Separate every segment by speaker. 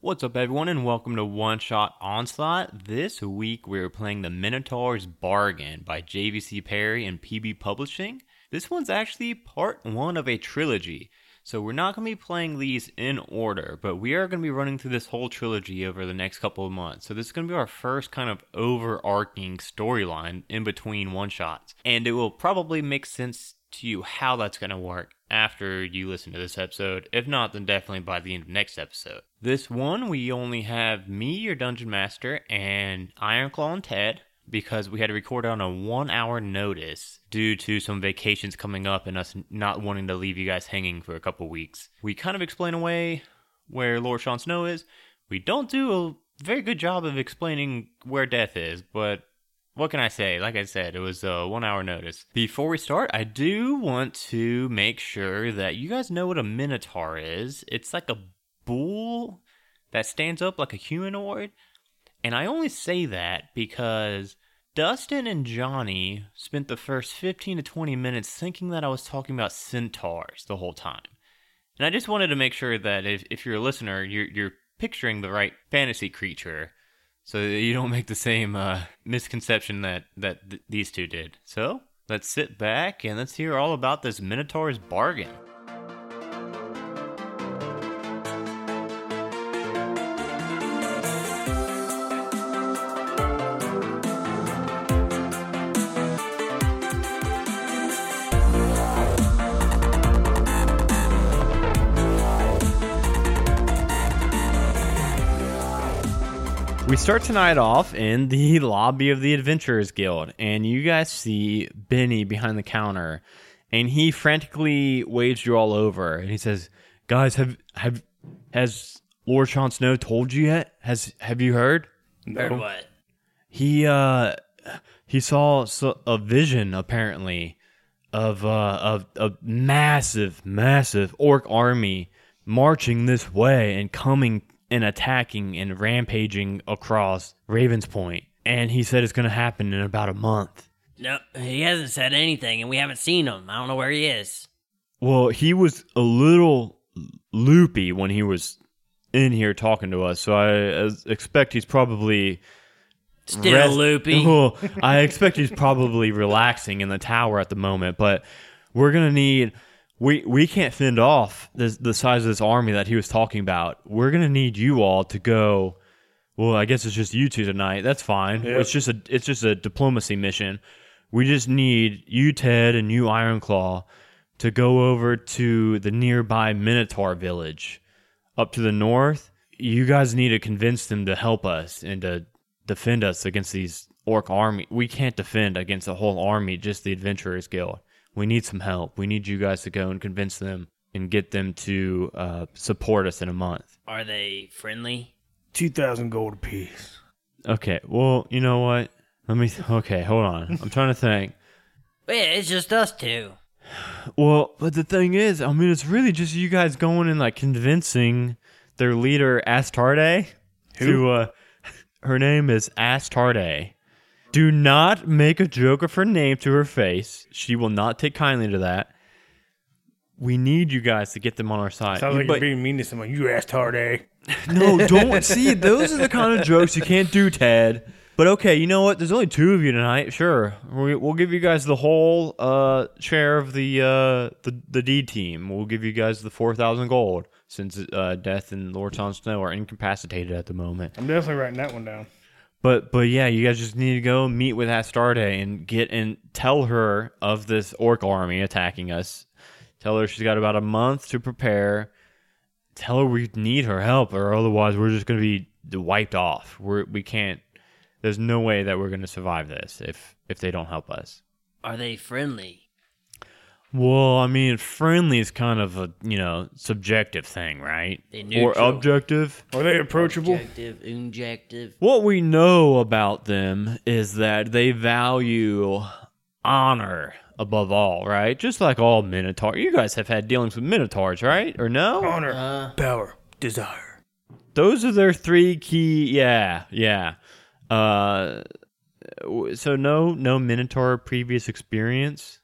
Speaker 1: What's up, everyone, and welcome to One Shot Onslaught. This week we are playing The Minotaur's Bargain by JVC Perry and PB Publishing. This one's actually part one of a trilogy, so we're not going to be playing these in order, but we are going to be running through this whole trilogy over the next couple of months. So this is going to be our first kind of overarching storyline in between one shots, and it will probably make sense to you how that's going to work after you listen to this episode. If not, then definitely by the end of next episode. This one, we only have me, your dungeon master, and Ironclaw and Ted because we had to record on a one hour notice due to some vacations coming up and us not wanting to leave you guys hanging for a couple weeks. We kind of explain away where Lord Sean Snow is. We don't do a very good job of explaining where death is, but what can I say? Like I said, it was a one hour notice. Before we start, I do want to make sure that you guys know what a minotaur is. It's like a bull that stands up like a humanoid. And I only say that because Dustin and Johnny spent the first 15 to 20 minutes thinking that I was talking about centaurs the whole time. And I just wanted to make sure that if, if you're a listener, you're, you're picturing the right fantasy creature so that you don't make the same uh, misconception that that th- these two did. So let's sit back and let's hear all about this Minotaur's bargain. We start tonight off in the lobby of the Adventurers Guild, and you guys see Benny behind the counter, and he frantically waves you all over, and he says, "Guys, have have has Lord Sean Snow told you yet? Has have you heard?
Speaker 2: Heard what?
Speaker 1: He uh he saw s- a vision apparently of uh of a massive massive orc army marching this way and coming and attacking and rampaging across Raven's Point. And he said it's going to happen in about a month.
Speaker 2: No, he hasn't said anything, and we haven't seen him. I don't know where he is.
Speaker 1: Well, he was a little loopy when he was in here talking to us, so I uh, expect he's probably
Speaker 2: Still
Speaker 1: rest-
Speaker 2: loopy.
Speaker 1: Well, I expect he's probably relaxing in the tower at the moment, but we're gonna need we we can't fend off this, the size of this army that he was talking about. We're gonna need you all to go. Well, I guess it's just you two tonight. That's fine. It's just a it's just a diplomacy mission. We just need you, Ted, and you, Ironclaw, to go over to the nearby Minotaur village up to the north, you guys need to convince them to help us and to defend us against these orc army. We can't defend against the whole army, just the adventurers guild. We need some help. We need you guys to go and convince them and get them to uh, support us in a month.
Speaker 2: Are they friendly?
Speaker 3: two thousand gold apiece.
Speaker 1: Okay. Well, you know what? Let me. Okay, hold on. I'm trying to think.
Speaker 2: Yeah, it's just us two.
Speaker 1: Well, but the thing is, I mean, it's really just you guys going and like convincing their leader Astarde to. Uh, her name is Astarde. Do not make a joke of her name to her face. She will not take kindly to that. We need you guys to get them on our side.
Speaker 3: Sounds like
Speaker 1: But-
Speaker 3: you're being mean to someone. You asked hard, eh?
Speaker 1: no, don't see. Those are the kind of jokes you can't do, Ted. But okay, you know what? There's only two of you tonight. Sure, we, we'll give you guys the whole uh, share of the uh, the the D team. We'll give you guys the four thousand gold since uh, Death and Lord Sean Snow are incapacitated at the moment.
Speaker 3: I'm definitely writing that one down.
Speaker 1: But but yeah, you guys just need to go meet with Astarte and get and tell her of this orc army attacking us. Tell her she's got about a month to prepare. Tell her we need her help, or otherwise we're just gonna be wiped off. We're we can't. There's no way that we're gonna survive this if if they don't help us.
Speaker 2: Are they friendly?
Speaker 1: Well, I mean, friendly is kind of a you know subjective thing, right?
Speaker 2: They
Speaker 1: or
Speaker 2: neutral.
Speaker 1: objective.
Speaker 3: Are they approachable?
Speaker 2: Objective, injective.
Speaker 1: What we know about them is that they value honor above all, right? Just like all Minotaur. You guys have had dealings with Minotaurs, right? Or no?
Speaker 3: Honor, power, desire.
Speaker 1: Those are their three key. Yeah, yeah. Uh, w- so no, no Minotaur previous experience.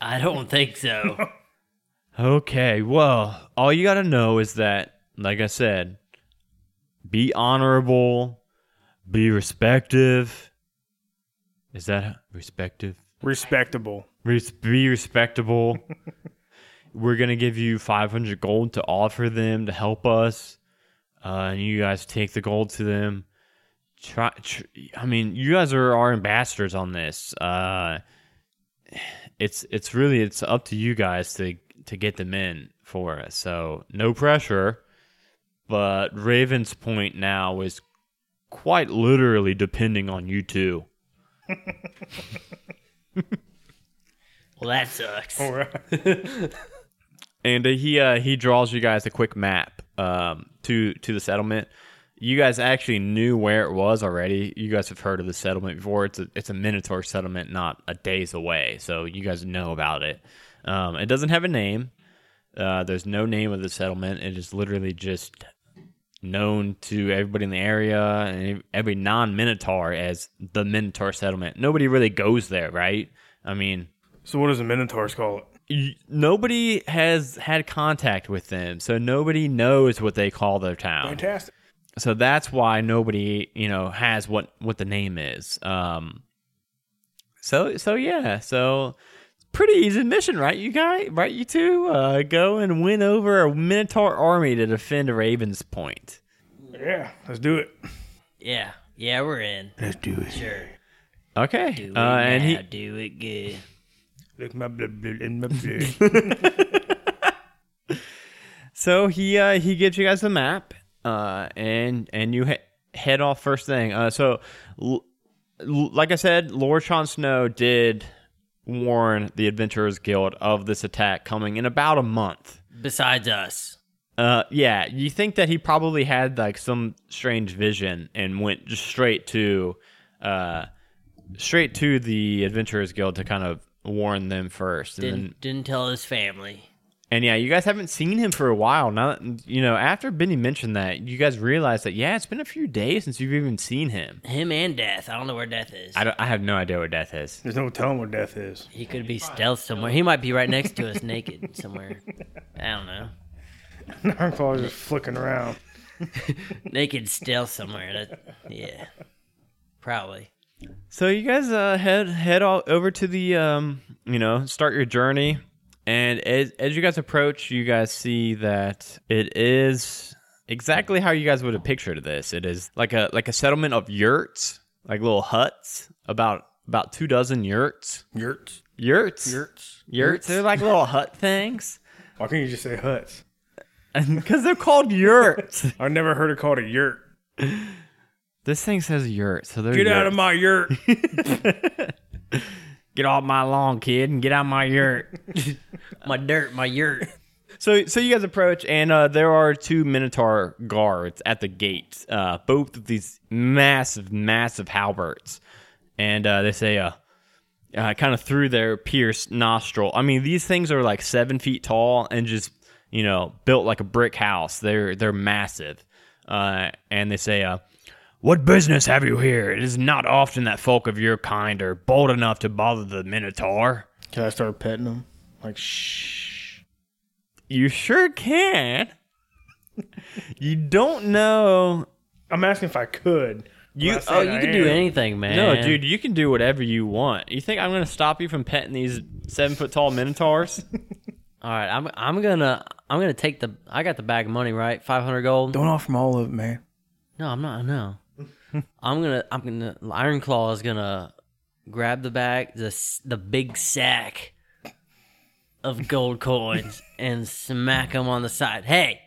Speaker 2: I don't think so.
Speaker 1: Okay, well, all you gotta know is that like I said, be honorable, be respective. Is that respective?
Speaker 3: Respectable.
Speaker 1: Res- be respectable. We're gonna give you 500 gold to offer them to help us, uh, and you guys take the gold to them. Try, tr- I mean, you guys are our ambassadors on this. Uh, it's it's really it's up to you guys to to get them in for us. So no pressure. But Raven's point now is quite literally depending on you two.
Speaker 2: Well, that sucks.
Speaker 3: All right.
Speaker 1: and uh, he uh, he draws you guys a quick map um, to to the settlement. You guys actually knew where it was already. You guys have heard of the settlement before. It's a, it's a Minotaur settlement, not a days away. So you guys know about it. Um, it doesn't have a name. Uh, there's no name of the settlement. It is literally just known to everybody in the area and every non Minotaur as the Minotaur settlement. Nobody really goes there, right? I mean,
Speaker 3: So what does the Minotaurs call it?
Speaker 1: y- nobody has had contact with them, so nobody knows what they call their town.
Speaker 3: Fantastic.
Speaker 1: So that's why nobody, you know, has what what the name is. Um, so so yeah, so it's pretty easy mission, right? You guys, right? You two, uh, go and win over a Minotaur army to defend Raven's Point.
Speaker 3: Yeah, let's do it.
Speaker 2: Yeah, yeah, we're in.
Speaker 3: Let's do it.
Speaker 2: Sure.
Speaker 1: Okay,
Speaker 2: Do it
Speaker 1: uh, and he
Speaker 2: now, do it good.
Speaker 3: Look my blood, blood in my blood.
Speaker 1: So he uh, he gives you guys the map, uh, and and you he- head off first thing. Uh, so, l- l- like I said, Lord Sean Snow did warn the Adventurers Guild of this attack coming in about a month.
Speaker 2: Besides us,
Speaker 1: Uh, yeah, you think that he probably had like some strange vision and went just straight to, uh, straight to the Adventurers Guild to kind of warn them first. And
Speaker 2: didn't
Speaker 1: then,
Speaker 2: didn't tell his family.
Speaker 1: and yeah, you guys haven't seen him for a while. Now, that- you know, after Benny mentioned that, you guys realize that, yeah, it's been a few days since you've even seen him.
Speaker 2: Him and Death. I don't know where Death is.
Speaker 1: I, don't- I have no idea where Death is.
Speaker 3: There's no telling where death is.
Speaker 2: He could be stealth somewhere. He might be right next to us, naked somewhere. I don't know.
Speaker 3: Narnclaw just flicking around.
Speaker 2: Naked stealth somewhere. That, yeah, probably.
Speaker 1: So you guys uh, head head all over to the, um, you know, start your journey. And as, as you guys approach, you guys see that it is exactly how you guys would have pictured this. It is like a like a settlement of yurts, like little huts, about about two dozen yurts.
Speaker 3: Yurts.
Speaker 1: Yurts.
Speaker 3: Yurts.
Speaker 1: Yurts. They're like little hut things.
Speaker 3: Why can't you just say huts?
Speaker 1: Because they're called yurts.
Speaker 3: I've never heard it called a yurt.
Speaker 1: this thing says yurt, so they're
Speaker 3: Get out of my yurt.
Speaker 1: get off my lawn, kid, and get out my yurt.
Speaker 2: My dirt, my yurt.
Speaker 1: so, so you guys approach, and uh, there are two Minotaur guards at the gate. Uh, both of these massive, massive halberds, and uh, they say, uh, uh, kind of through their pierced nostril. I mean, these things are like seven feet tall and just you know built like a brick house. They're they're massive, uh, and they say, uh, "What business have you here? It is not often that folk of your kind are bold enough to bother the Minotaur."
Speaker 3: Can I start petting them? Like shh.
Speaker 1: You sure can. you don't know.
Speaker 3: I'm asking if I could.
Speaker 1: You-
Speaker 3: I'm not
Speaker 2: Oh,
Speaker 3: saying
Speaker 2: you
Speaker 3: I
Speaker 2: can do
Speaker 3: am.
Speaker 2: anything, man.
Speaker 1: No, dude, you can do whatever you want. You think I'm gonna stop you from petting these seven foot tall minotaurs?
Speaker 2: All right, I'm I'm gonna I'm gonna take the I got the bag of money right, five hundred gold.
Speaker 3: Don't offer them all of it, man.
Speaker 2: No, I'm not. No, I'm gonna I'm gonna Iron Claw is gonna grab the bag the s- the big sack of gold coins and smack him on the side. Hey,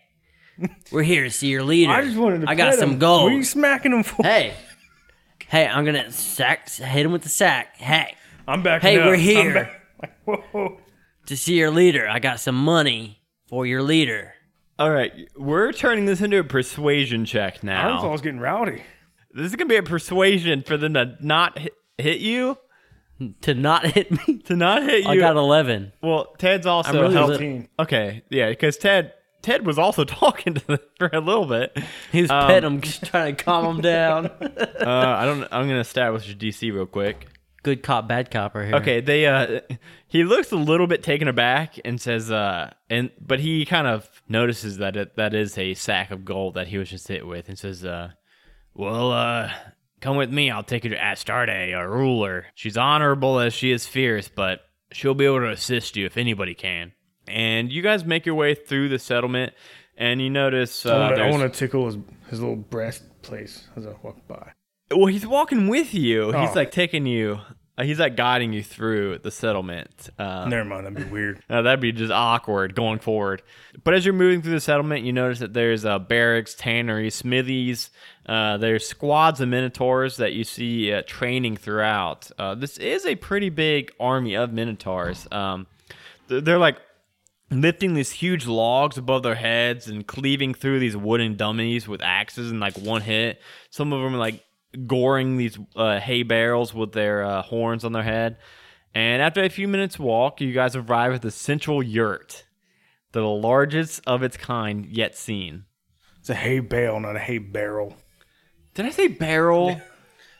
Speaker 2: we're here to see your leader.
Speaker 3: I just wanted to.
Speaker 2: I got
Speaker 3: pet
Speaker 2: some
Speaker 3: 'em.
Speaker 2: gold.
Speaker 3: What are you smacking them for?
Speaker 2: Hey, hey, I'm gonna sack hit him with the sack. Hey,
Speaker 3: I'm back.
Speaker 2: Hey,
Speaker 3: up.
Speaker 2: we're
Speaker 3: I'm
Speaker 2: here.
Speaker 3: back- Like, whoa.
Speaker 2: to see your leader. I got some money for your leader.
Speaker 1: All right, we're turning this into a persuasion check now.
Speaker 3: Narnclaw's getting rowdy.
Speaker 1: This is gonna be a persuasion for them to not hit, hit you,
Speaker 2: To not hit me.
Speaker 1: to not hit you.
Speaker 2: I got eleven.
Speaker 1: well, Ted's also
Speaker 2: I'm really
Speaker 1: helped.
Speaker 2: lit-
Speaker 3: Team.
Speaker 1: Okay, yeah, because Ted Ted was also talking to them for a little bit.
Speaker 2: He was petting him, trying to calm him down.
Speaker 1: Uh, I don't. I'm gonna establish a DC real quick.
Speaker 2: good cop, bad cop right here.
Speaker 1: Okay, they uh he looks a little bit taken aback and says uh and but he kind of notices that it, that is a sack of gold that he was just hit with and says uh well uh come with me I'll take you to Astarte our ruler she's honorable as she is fierce but she'll be able to assist you if anybody can and you guys make your way through the settlement and you notice uh,
Speaker 3: I wanna- I
Speaker 1: there's-
Speaker 3: want to tickle his, his little breast place as I walk by.
Speaker 1: well, he's walking with you. He's
Speaker 3: Oh.
Speaker 1: like taking you. uh, He's like guiding you through the settlement. Uh,
Speaker 3: Never mind, that'd be weird.
Speaker 1: uh, that'd be just awkward going forward. But as you're moving through the settlement, you notice that there's uh, barracks, tanneries, smithies. Uh, there's squads of minotaurs that you see uh, training throughout. Uh, this is a pretty big army of minotaurs. Um, th- they're like lifting these huge logs above their heads and cleaving through these wooden dummies with axes in like one hit. Some of them are like goring these uh, hay barrels with their uh, horns on their head. And after a few minutes walk, you guys arrive at the central yurt, the largest of its kind yet seen.
Speaker 3: It's a hay bale, not a hay barrel.
Speaker 1: Did I say barrel?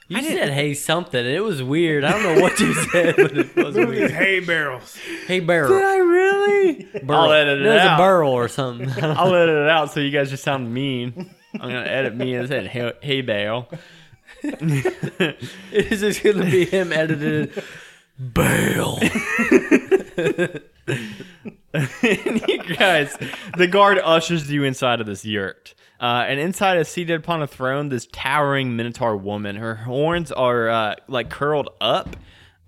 Speaker 2: You said hey something. It was weird. I don't know what you said, but it was
Speaker 3: Look at these
Speaker 2: weird.
Speaker 3: hay barrels.
Speaker 2: Hey barrel.
Speaker 1: I really? I'll
Speaker 2: Burl.
Speaker 1: edit it
Speaker 2: No, it's
Speaker 1: out.
Speaker 2: a burl or something. I don't
Speaker 1: I'll edit it out so you guys just sound mean. I'm gonna edit me and say hay, hay bale.
Speaker 2: It's just gonna be him edited. Bail.
Speaker 1: And you guys, the guard ushers you inside of this yurt. Uh, and inside is seated upon a throne this towering minotaur woman. Her horns are uh, like curled up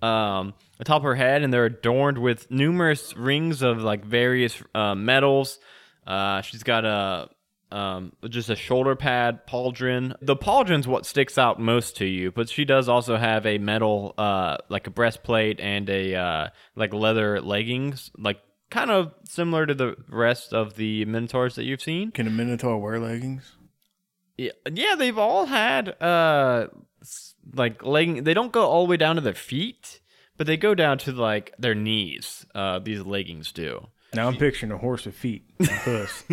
Speaker 1: um, atop her head, and they're adorned with numerous rings of like various uh, metals. Uh, she's got a um, just a shoulder pad pauldron. The pauldron's what sticks out most to you, but she does also have a metal, uh, like a breastplate and a uh, like leather leggings, like kind of similar to the rest of the minotaurs that you've seen.
Speaker 3: Can a minotaur wear leggings?
Speaker 1: Yeah, yeah they've all had uh, s- like legging. They don't go all the way down to their feet, but they go down to like their knees. Uh, these leggings do.
Speaker 3: Now I'm picturing a horse with feet and hooves.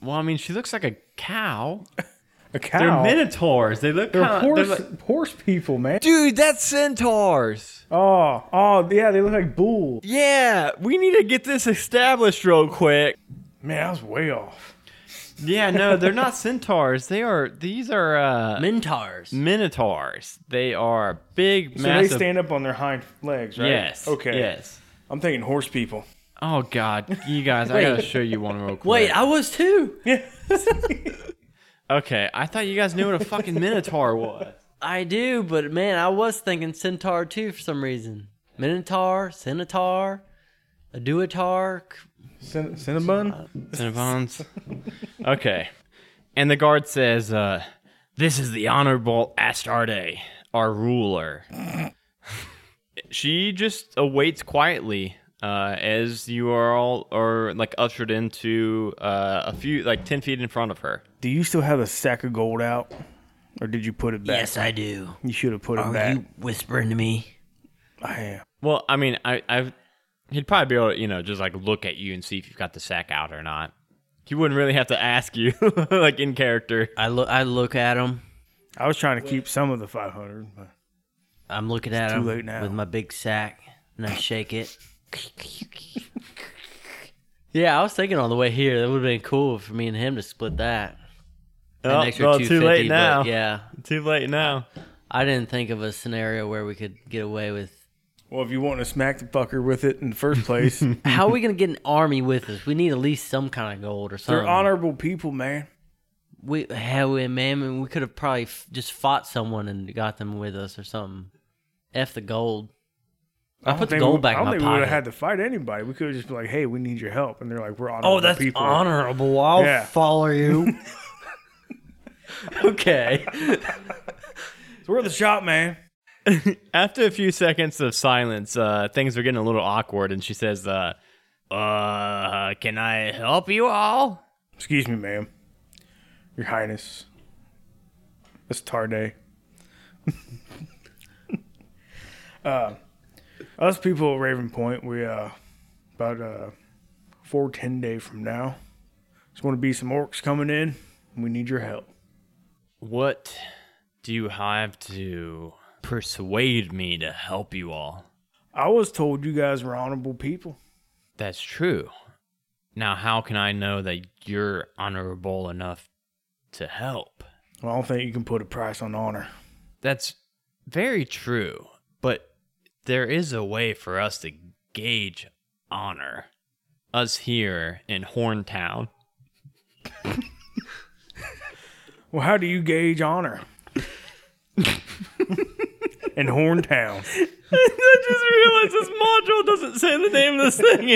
Speaker 1: Well, I mean, she looks like a cow.
Speaker 3: A cow.
Speaker 1: They're minotaurs. They look
Speaker 3: They're
Speaker 1: kinda-
Speaker 3: horse,
Speaker 1: like-
Speaker 3: horse people, man.
Speaker 1: Dude, that's centaurs.
Speaker 3: Oh, oh, yeah, they look like bulls.
Speaker 1: Yeah, we need to get this established real quick.
Speaker 3: Man, I was way off.
Speaker 1: Yeah, no, they're not centaurs. They are these are uh
Speaker 2: Mentars.
Speaker 1: minotaurs. They are big
Speaker 3: So
Speaker 1: massive
Speaker 3: they stand up on their hind legs, right?
Speaker 1: Yes.
Speaker 3: Okay.
Speaker 1: Yes.
Speaker 3: I'm thinking horse people.
Speaker 1: Oh god, you guys, I
Speaker 2: Wait.
Speaker 1: got to show you one real quick.
Speaker 2: Wait, I was too.
Speaker 3: Yeah.
Speaker 1: Okay, I thought you guys knew what a fucking minotaur was.
Speaker 2: I do, but man, I was thinking centaur too for some reason. Minotaur, centaur, a duotar.
Speaker 3: Cin- Cinnabon?
Speaker 1: Cinnabons. okay. And the guard says, uh, This is the Honorable Astarte, our ruler. she just awaits quietly uh, as you are all are like ushered into uh, a few, like 10 feet in front of her.
Speaker 3: Do you still have a sack of gold out? Or did you put it back?
Speaker 2: I do.
Speaker 3: Oh, You should have put it back.
Speaker 2: whispering to me?
Speaker 3: I am.
Speaker 1: Well, I mean, I, I've, he'd probably be able to, you know, just like look at you and see if you've got the sack out or not. He wouldn't really have to ask you, like in character.
Speaker 2: I look. I look at him.
Speaker 3: I was trying to keep some of the 500. But
Speaker 2: I'm looking at
Speaker 3: too
Speaker 2: him
Speaker 3: late now.
Speaker 2: with my big sack, and I shake it. yeah, I was thinking on the way here that would have been cool for me and him to split that. An
Speaker 1: Oh,
Speaker 2: extra
Speaker 1: well, too
Speaker 2: 250,
Speaker 1: late
Speaker 2: but
Speaker 1: now.
Speaker 2: Yeah,
Speaker 1: Too late now.
Speaker 2: I didn't think of a scenario where we could get away with.
Speaker 3: well, if you want to smack the fucker with it in the first place,
Speaker 2: How are we gonna get an army with us? We need at least some kind of gold or something.
Speaker 3: they're honorable people, man.
Speaker 2: We hell, we- man, man, we could have probably f- just fought someone and got them with us or something. F the gold. I,
Speaker 3: don't
Speaker 2: put the
Speaker 3: think
Speaker 2: gold
Speaker 3: we-
Speaker 2: back
Speaker 3: I
Speaker 2: in
Speaker 3: don't
Speaker 2: my
Speaker 3: think we would
Speaker 2: pocket.
Speaker 3: have had to fight anybody. We could have just been like, hey, we need your help. And they're like, we're honorable
Speaker 2: oh, that's
Speaker 3: people.
Speaker 2: honorable. I'll
Speaker 3: Yeah.
Speaker 2: follow you. okay.
Speaker 3: So we're the shop, man.
Speaker 1: After a few seconds of silence, uh, things are getting a little awkward, and she says, uh, uh, can I help you all?
Speaker 3: Excuse me, ma'am. Your Highness. It's Tarday. uh, us people at Raven Point, we, uh, about, uh, four, ten day from now, there's going to be some orcs coming in. and We need your help.
Speaker 1: What Do you have to persuade me to help you all?
Speaker 3: I was told you guys were honorable people.
Speaker 1: That's true. Now, how can I know that you're honorable enough to help?
Speaker 3: Well, I don't think you can put a price on honor.
Speaker 1: That's very true, but there is a way for us to gauge honor. Us here in Horntown.
Speaker 3: Well, how do you gauge honor? In Horntown.
Speaker 1: I just realized this module doesn't say the name of this thing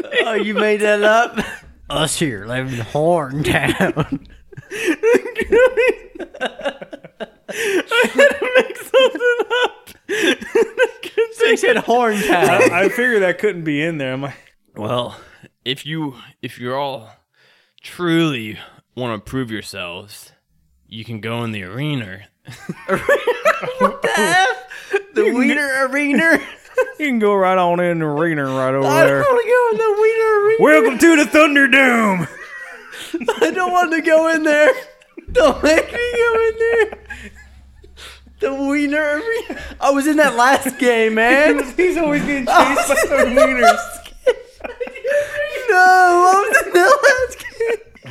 Speaker 1: anywhere.
Speaker 2: Oh, you made that up? Us here living in Horntown. they said Horntown.
Speaker 3: I, I figured that couldn't be in there. I'm like,
Speaker 1: Well, if you if you're all truly want to prove yourselves, you can go in the arena.
Speaker 2: the Wiener Arena.
Speaker 3: you can go right on in the arena right over
Speaker 2: I don't
Speaker 3: there.
Speaker 2: want to go in the Wiener Arena.
Speaker 3: Welcome to the Thunderdome.
Speaker 2: I don't want to go in there. Don't make me go in there. The Wiener Arena. I was in that last game, man.
Speaker 3: He's always getting chased by the
Speaker 2: No, I was in that last game.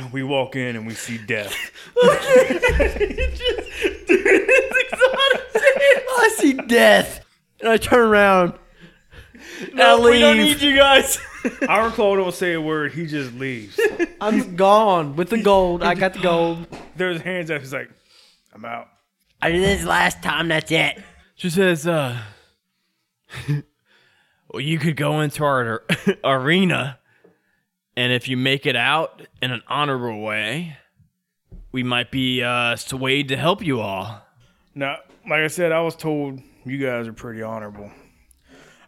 Speaker 3: wieners. We walk in and we see death.
Speaker 2: I see death. And I turn around. And I
Speaker 1: we don't need
Speaker 2: leave.
Speaker 1: you guys.
Speaker 3: Ironclaw don't say a word. He just leaves.
Speaker 2: I'm gone with the gold. I got the gold.
Speaker 3: There's hands up. He's like, I'm out.
Speaker 2: I did this last time. That's it.
Speaker 1: She says, uh, well, you could go into our arena, and if you make it out in an honorable way, we might be uh, swayed to help you all.
Speaker 3: Now, like I said, I was told you guys are pretty honorable.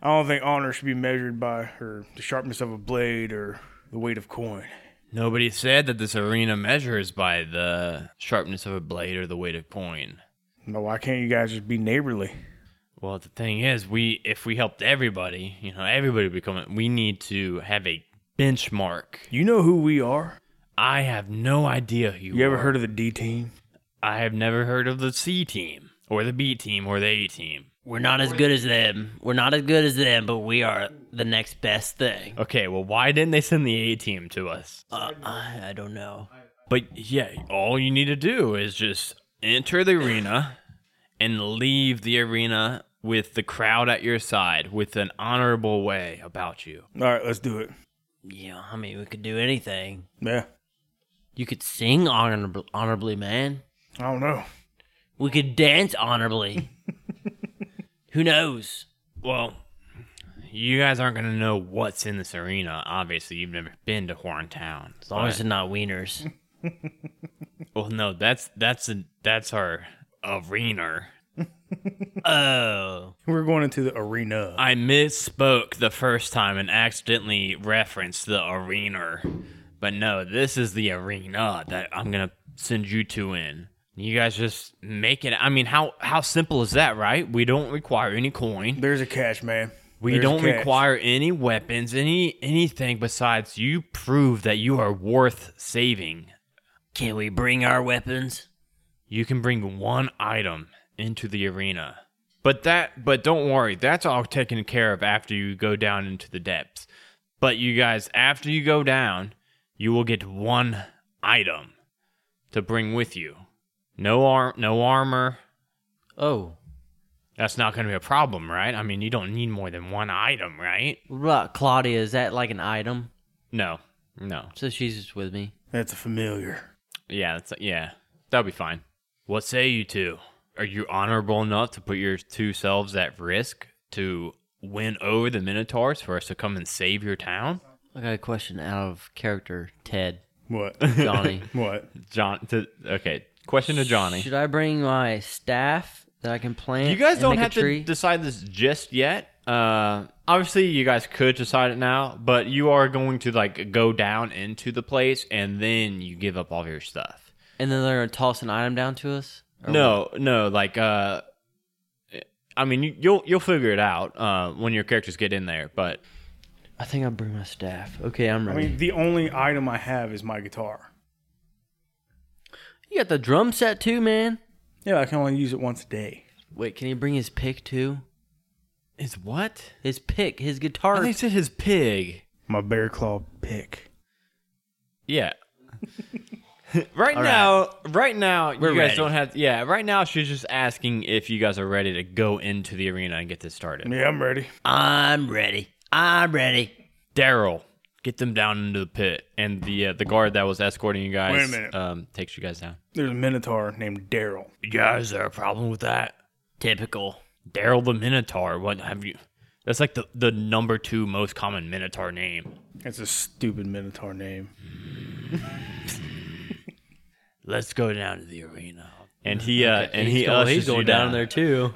Speaker 3: I don't think honor should be measured by or the sharpness of a blade or the weight of coin.
Speaker 1: Nobody said that this arena measures by the sharpness of a blade or the weight of coin.
Speaker 3: No, why can't you guys just be neighborly?
Speaker 1: Well, the thing is, we if we helped everybody, you know, everybody would become. We need to have a benchmark.
Speaker 3: You know who we are.
Speaker 1: I have no idea who you,
Speaker 3: You ever
Speaker 1: are.
Speaker 3: heard of the D team?
Speaker 1: I have never heard of the C team or the B team or the A team.
Speaker 2: We're not as good as them. We're not as good as them, but we are the next best thing.
Speaker 1: Okay, well, why didn't they send the A team to us?
Speaker 2: Uh, I, I don't know.
Speaker 1: But yeah, all you need to do is just enter the arena and leave the arena with the crowd at your side with an honorable way about you.
Speaker 3: All right, let's do it.
Speaker 2: Yeah, I mean, we could do anything.
Speaker 3: Yeah.
Speaker 2: You could sing honorably, honorably man.
Speaker 3: I don't know.
Speaker 2: We could dance honorably. Who knows?
Speaker 1: Well, you guys aren't going to know what's in this arena. Obviously, you've never been to Horntown.
Speaker 2: As long as they're not wieners.
Speaker 1: Well, no, that's that's a, that's our arena.
Speaker 2: Oh.
Speaker 3: We're going into the arena.
Speaker 1: I misspoke the first time and accidentally referenced the arena. But no, this is the arena that I'm going to send you two in. You guys just make it. I mean, how how simple is that, right? We don't require any coin.
Speaker 3: There's a catch, man.
Speaker 1: We
Speaker 3: There's a
Speaker 1: don't
Speaker 3: catch.
Speaker 1: require any weapons, any anything besides you prove that you are worth saving.
Speaker 2: Can we bring our weapons?
Speaker 1: You can bring one item into the arena. But that but don't worry, that's all taken care of after you go down into the depths. But you guys, after you go down, you will get one item to bring with you. No arm no armor.
Speaker 2: Oh.
Speaker 1: That's not going to be a problem, right? I mean, you don't need more than one item, right?
Speaker 2: What about Claudia? Is that like an item?
Speaker 1: No. No.
Speaker 2: So she's just with me.
Speaker 3: That's a familiar.
Speaker 1: Yeah, that's yeah. That'll be fine. What say you two? Are you honorable enough to put your two selves at risk to win over the Minotaurs for us to come and save your town?
Speaker 2: I got a question out of character, Ted.
Speaker 3: What?
Speaker 2: Johnny.
Speaker 3: what?
Speaker 1: John, to, okay. Question to Johnny.
Speaker 2: Should I bring my staff that I can plant?
Speaker 1: You guys
Speaker 2: and
Speaker 1: don't
Speaker 2: make a
Speaker 1: have to
Speaker 2: tree?
Speaker 1: decide this just yet. Uh, obviously, you guys could decide it now, but you are going to like go down into the place and then you give up all your stuff.
Speaker 2: And then they're gonna toss an item down to us? Or
Speaker 1: No, no, like uh I mean you, you'll you'll figure it out uh when your characters get in there, but
Speaker 2: what? I think I'll bring my staff. Okay, I'm
Speaker 3: I
Speaker 2: ready.
Speaker 3: mean, the only item I have is my guitar.
Speaker 2: You got the drum set too, man.
Speaker 3: Yeah, I can only use it once a day.
Speaker 2: Wait, can he bring his pick too?
Speaker 1: Is what?
Speaker 2: His pick, his
Speaker 1: I
Speaker 2: guitar.
Speaker 1: think it said his pig.
Speaker 3: My bear claw pick.
Speaker 1: Yeah. right
Speaker 2: All
Speaker 1: now, right now,
Speaker 2: We're
Speaker 1: you guys
Speaker 2: ready.
Speaker 1: don't have. Yeah, right now she's just asking if you guys are ready to go into the arena and get this started.
Speaker 3: Yeah, I'm ready.
Speaker 2: I'm ready. I'm ready.
Speaker 1: Daryl, get them down into the pit, and the uh, the guard that was escorting you guys
Speaker 3: Wait a minute.
Speaker 1: Um, takes you guys down.
Speaker 3: There's a minotaur named Daryl.
Speaker 1: You guys, there a problem with that?
Speaker 2: Typical.
Speaker 1: Daryl the Minotaur. What have you? That's like the the number two most common Minotaur name.
Speaker 3: It's a stupid minotaur name.
Speaker 1: Let's go down to the arena. And he uh, and
Speaker 2: he's
Speaker 1: he
Speaker 2: going, he's
Speaker 1: ushers you
Speaker 2: going down there too.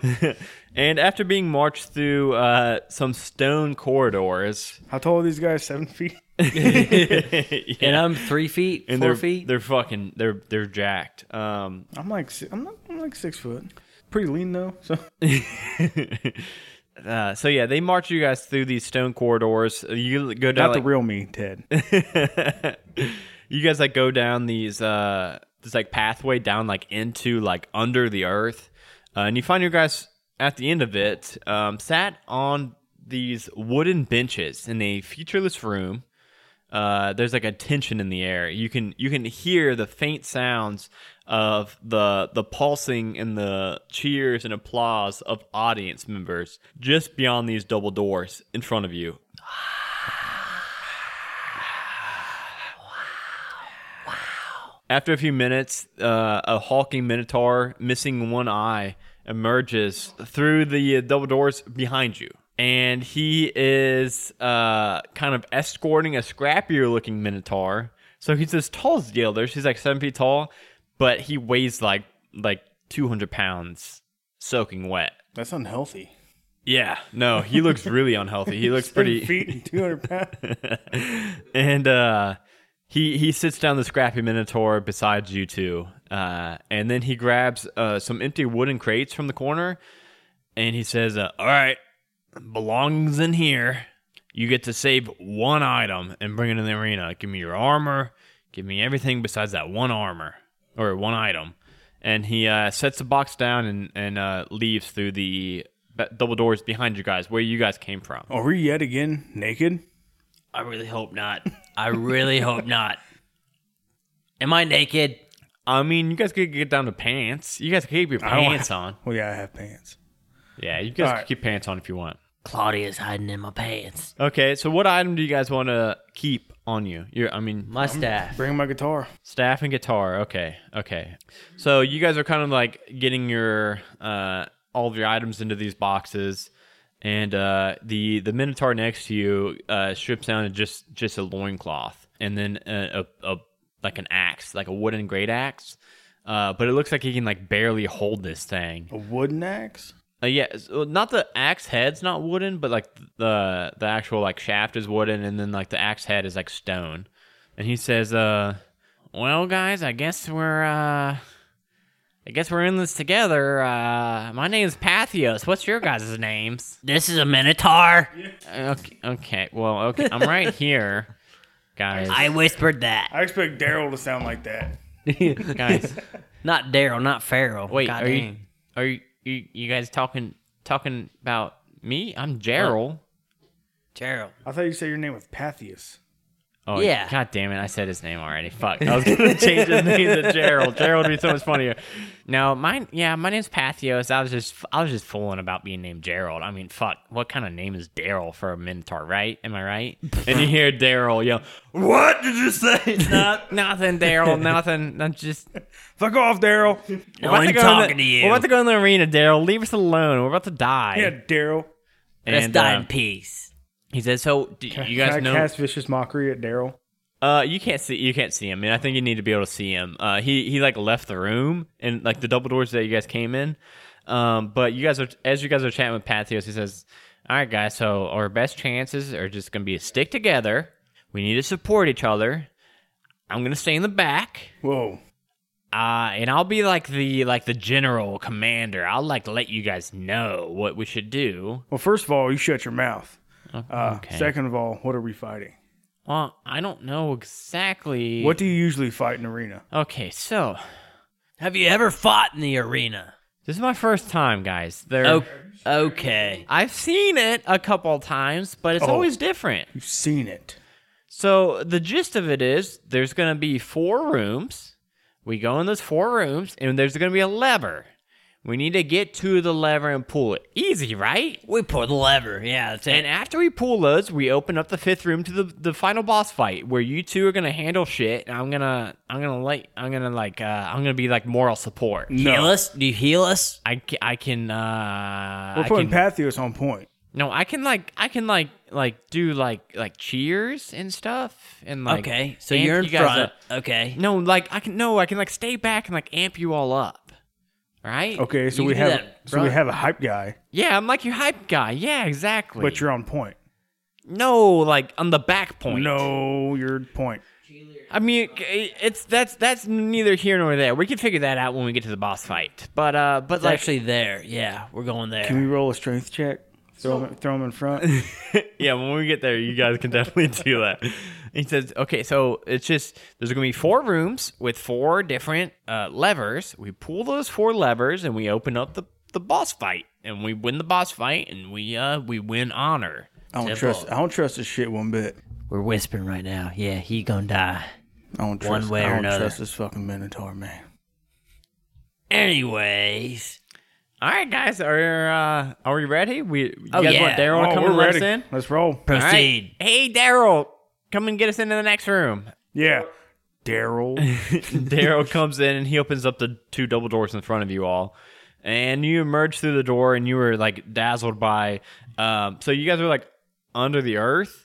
Speaker 1: And after being marched through uh, some stone corridors,
Speaker 3: How tall are these guys? Seven feet.
Speaker 2: And I'm three feet,
Speaker 1: and
Speaker 2: 4
Speaker 1: they're
Speaker 2: feet.
Speaker 1: they're fucking they're they're jacked. Um,
Speaker 3: I'm like si- I'm, not, I'm like six foot. Pretty lean though. So
Speaker 1: uh, so yeah, they march you guys through these stone corridors. You go down
Speaker 3: not the
Speaker 1: like-
Speaker 3: real me, Ted.
Speaker 1: you guys like go down these uh this like pathway down like into like under the earth uh, and you find your guys at the end of it um sat on these wooden benches in a featureless room uh there's like a tension in the air you can you can hear the faint sounds of the the pulsing and the cheers and applause of audience members just beyond these double doors in front of you After a few minutes, uh, a hulking minotaur, missing one eye, emerges through the uh, double doors behind you. And he is uh, kind of escorting a scrappier looking minotaur. So he's as tall as the others. He's like seven feet tall, but he weighs like like 200 pounds soaking wet.
Speaker 3: That's unhealthy.
Speaker 1: Yeah, no, he looks really unhealthy. He looks pretty.
Speaker 3: Seven feet and two hundred pounds.
Speaker 1: and uh, he he sits down the scrappy minotaur beside you two, uh, and then he grabs uh, some empty wooden crates from the corner, and he says, uh, "All right, belongs in here. You get to save one item and bring it in the arena. Give me your armor. Give me everything besides that one armor or one item." And he uh, sets the box down and and uh, leaves through the ba- double doors behind you guys, where you guys came from.
Speaker 3: Are we yet again naked?
Speaker 2: I really hope not. I really hope not. Am I naked?
Speaker 1: I mean, you guys could get down to pants. You guys could keep your
Speaker 3: I don't-
Speaker 1: pants on.
Speaker 3: Well, yeah, I have pants.
Speaker 1: Yeah, you guys
Speaker 3: All
Speaker 1: could
Speaker 3: right.
Speaker 1: keep pants on if you want.
Speaker 2: Claudia's hiding in my pants.
Speaker 1: Okay, so what item do you guys want to keep on you? Your, I mean,
Speaker 2: My staff.
Speaker 3: Bring my guitar.
Speaker 1: staff and guitar. Okay, okay. So you guys are kind of like getting your uh, all of your items into these boxes, and uh, the the minotaur next to you uh, strips down to just just a loincloth, and then a, a, a like an axe, like a wooden great axe. Uh, but it looks like he can like barely hold this thing.
Speaker 3: A wooden axe.
Speaker 1: Uh, yeah, s- uh, not the axe head's not wooden, but like th- the the actual like shaft is wooden, and then like the axe head is like stone. And he says, "Uh, well, guys, I guess we're uh, I guess we're in this together. Uh, my name's Pathios. What's your guys' names?
Speaker 2: This is a minotaur.
Speaker 1: Uh, Okay, okay, well, okay, I'm right here, guys.
Speaker 2: I whispered that.
Speaker 3: I expect Daryl to sound like that.
Speaker 1: guys,
Speaker 2: Not Daryl, not Farrell.
Speaker 1: wait,
Speaker 2: God
Speaker 1: are you,
Speaker 2: dang.
Speaker 1: are you you you guys talking talking about me? I'm Gerald.
Speaker 2: Daryl.
Speaker 3: I thought you said your name was Pathias.
Speaker 1: Oh
Speaker 2: Yeah.
Speaker 1: God damn it! I said his name already. Fuck! I was gonna change his name to Gerald. Gerald would be so much funnier. No, mine. Yeah, my name's Pathios. I was just, I was just fooling about being named Gerald. I mean, fuck. What kind of name is Daryl for a Minotaur, right? Am I right? and you hear Daryl yell, "What did you say?" no, nothing, Daryl. Nothing. I'm just.
Speaker 3: Fuck off, Daryl.
Speaker 1: No
Speaker 2: I'm talking to you.
Speaker 1: We're about to go in the arena, Daryl. Leave us alone. We're about to die.
Speaker 3: Yeah, Daryl.
Speaker 2: Let's
Speaker 1: And,
Speaker 2: die
Speaker 1: uh,
Speaker 2: in peace.
Speaker 1: he says, "So, do you guys
Speaker 3: Can I
Speaker 1: know?"
Speaker 3: cast vicious mockery at Daryl?
Speaker 1: Uh, you can't see you can't see him, and I think you need to be able to see him. Uh, he he like left the room and like the double doors that you guys came in. Um, but you guys are as you guys are chatting with Pathios, he says, "All right, guys, so our best chances are just gonna be to stick together. We need to support each other. I'm gonna stay in the back."
Speaker 3: Whoa.
Speaker 1: Uh, and I'll be like the like the general commander. I'll like let you guys know what we should do.
Speaker 3: Well, first of all, you shut your mouth. Uh,
Speaker 1: Okay.
Speaker 3: Second of all, what are we fighting?
Speaker 1: Well, I don't know exactly
Speaker 3: What do you usually fight in arena?
Speaker 1: Okay, so
Speaker 2: Have you ever fought in the arena?
Speaker 1: This is my first time, guys. There,
Speaker 2: O- okay.
Speaker 1: I've seen it a couple times, but it's
Speaker 3: Oh.
Speaker 1: always different.
Speaker 3: You've seen it.
Speaker 1: So the gist of it is there's going to be four rooms. We go in those four rooms, and there's going to be a lever. We need to get to the lever and pull it. Easy, right?
Speaker 2: We pull the lever. Yeah, that's it.
Speaker 1: And after we pull those, we open up the fifth room to the, the final boss fight, where you two are gonna handle shit. And I'm gonna I'm gonna like I'm gonna like uh, I'm gonna be like moral support.
Speaker 2: heal
Speaker 3: No.
Speaker 2: us? Do you heal us?
Speaker 1: I, ca- I can uh
Speaker 3: We're
Speaker 1: I
Speaker 3: putting
Speaker 1: can-
Speaker 3: Pathos on point.
Speaker 1: no I can like I can like like do like like cheers and stuff and like
Speaker 2: okay, so
Speaker 1: amp
Speaker 2: you're in
Speaker 1: you guys
Speaker 2: front.
Speaker 1: up.
Speaker 2: Okay.
Speaker 1: No, like I can no I can like stay back and like amp you all up. Right?
Speaker 3: Okay, so
Speaker 2: You
Speaker 3: we
Speaker 2: do
Speaker 3: have
Speaker 2: that,
Speaker 3: so we
Speaker 2: bruh.
Speaker 3: have a hype guy,
Speaker 1: Yeah, I'm like your hype guy. Yeah, exactly.
Speaker 3: but you're on point.
Speaker 1: no like on the back point.
Speaker 3: No, you're point.
Speaker 1: I mean, it- it's that's that's neither here nor there. We can figure that out when we get to the boss fight. But uh, but
Speaker 2: It's
Speaker 1: like,
Speaker 2: actually there. Yeah, we're going there.
Speaker 3: Can we roll a strength check? Throw him, throw him in front.
Speaker 1: yeah, when we get there, you guys can definitely do that. He says, okay, so it's just there's gonna be four rooms with four different uh, levers. We pull those four levers and we open up the the boss fight, and we win the boss fight, and we uh we win honor.
Speaker 3: I don't
Speaker 2: Tip
Speaker 3: trust.
Speaker 2: off.
Speaker 3: I don't trust this shit one bit.
Speaker 2: We're whispering right now. Yeah, he gonna die.
Speaker 3: I don't trust.
Speaker 2: One way or
Speaker 3: I don't
Speaker 2: another.
Speaker 3: trust this fucking Minotaur man.
Speaker 2: Anyways,
Speaker 1: All right, guys, are uh are we ready? We you
Speaker 2: Oh,
Speaker 1: guys
Speaker 2: yeah.
Speaker 1: want Daryl to come and let us in?
Speaker 3: Let's roll.
Speaker 1: All right.
Speaker 2: proceed.
Speaker 1: Hey, Daryl, come and get us into the next room.
Speaker 3: Yeah, Daryl.
Speaker 1: Daryl comes in and he opens up the two double doors in front of you all. And you emerge through the door and you were like dazzled by. Um, so you guys were like under the earth.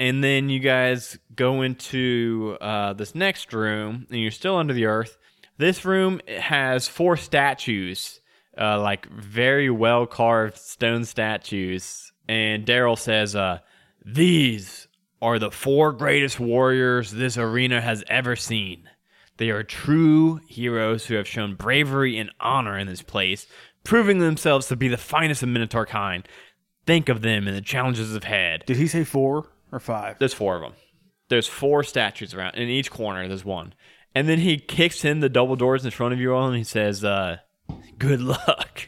Speaker 1: And then you guys go into uh, this next room and you're still under the earth. This room has four statues, uh, like very well carved stone statues. And Daryl says, uh, These are the four greatest warriors this arena has ever seen. They are true heroes who have shown bravery and honor in this place, proving themselves to be the finest of Minotaur kind. Think of them and the challenges ahead.
Speaker 3: Did he say four or five?
Speaker 1: There's four of them. There's four statues around. In each corner, there's one. And then he kicks in the double doors in front of you all and he says, uh, Good luck.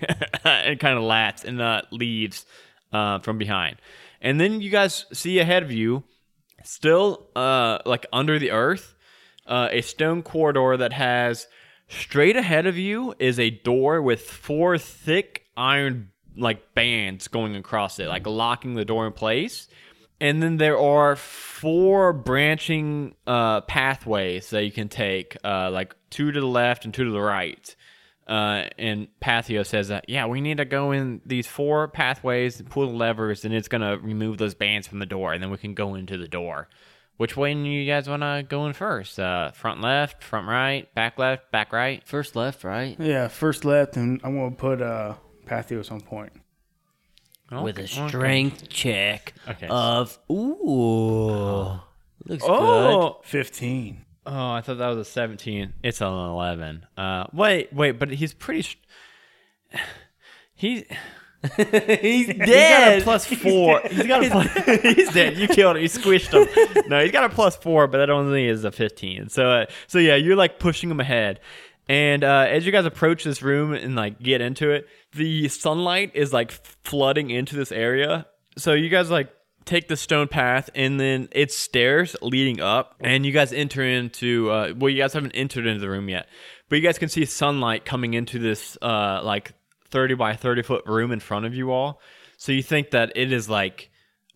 Speaker 1: and kind of laughs and uh, leaves uh, from behind. And then you guys see ahead of you still uh like under the earth uh, a stone corridor that has straight ahead of you is a door with four thick iron like bands going across it like locking the door in place and then there are four branching uh pathways that you can take uh like two to the left and two to the right uh, and Pathio says that, yeah, we need to go in these four pathways, pull the levers, and it's going to remove those bands from the door, and then we can go into the door. Which way do you guys want to go in first? Uh, front left, front right, back left, back right?
Speaker 2: First left, right?
Speaker 3: Yeah, first left, and I'm gonna put uh Pathos on point.
Speaker 2: With a strength check
Speaker 1: Okay.
Speaker 2: of ooh, looks good.
Speaker 1: Oh!
Speaker 3: Fifteen.
Speaker 1: Oh, I thought that was a 17. It's an 11. Uh, wait, wait, but he's pretty. Sh- he's. he's dead. He's got a plus four. He's got a plus. he's dead. You killed him. You squished him. No, he's got a plus four, but that only is a fifteen. So, uh, so yeah, you're like pushing him ahead. And uh, as you guys approach this room and like get into it, the sunlight is like flooding into this area. So you guys like take the stone path and then it's stairs leading up and you guys enter into uh well you guys haven't entered into the room yet but you guys can see sunlight coming into this uh like 30 by 30 foot room in front of you all so you think that it is like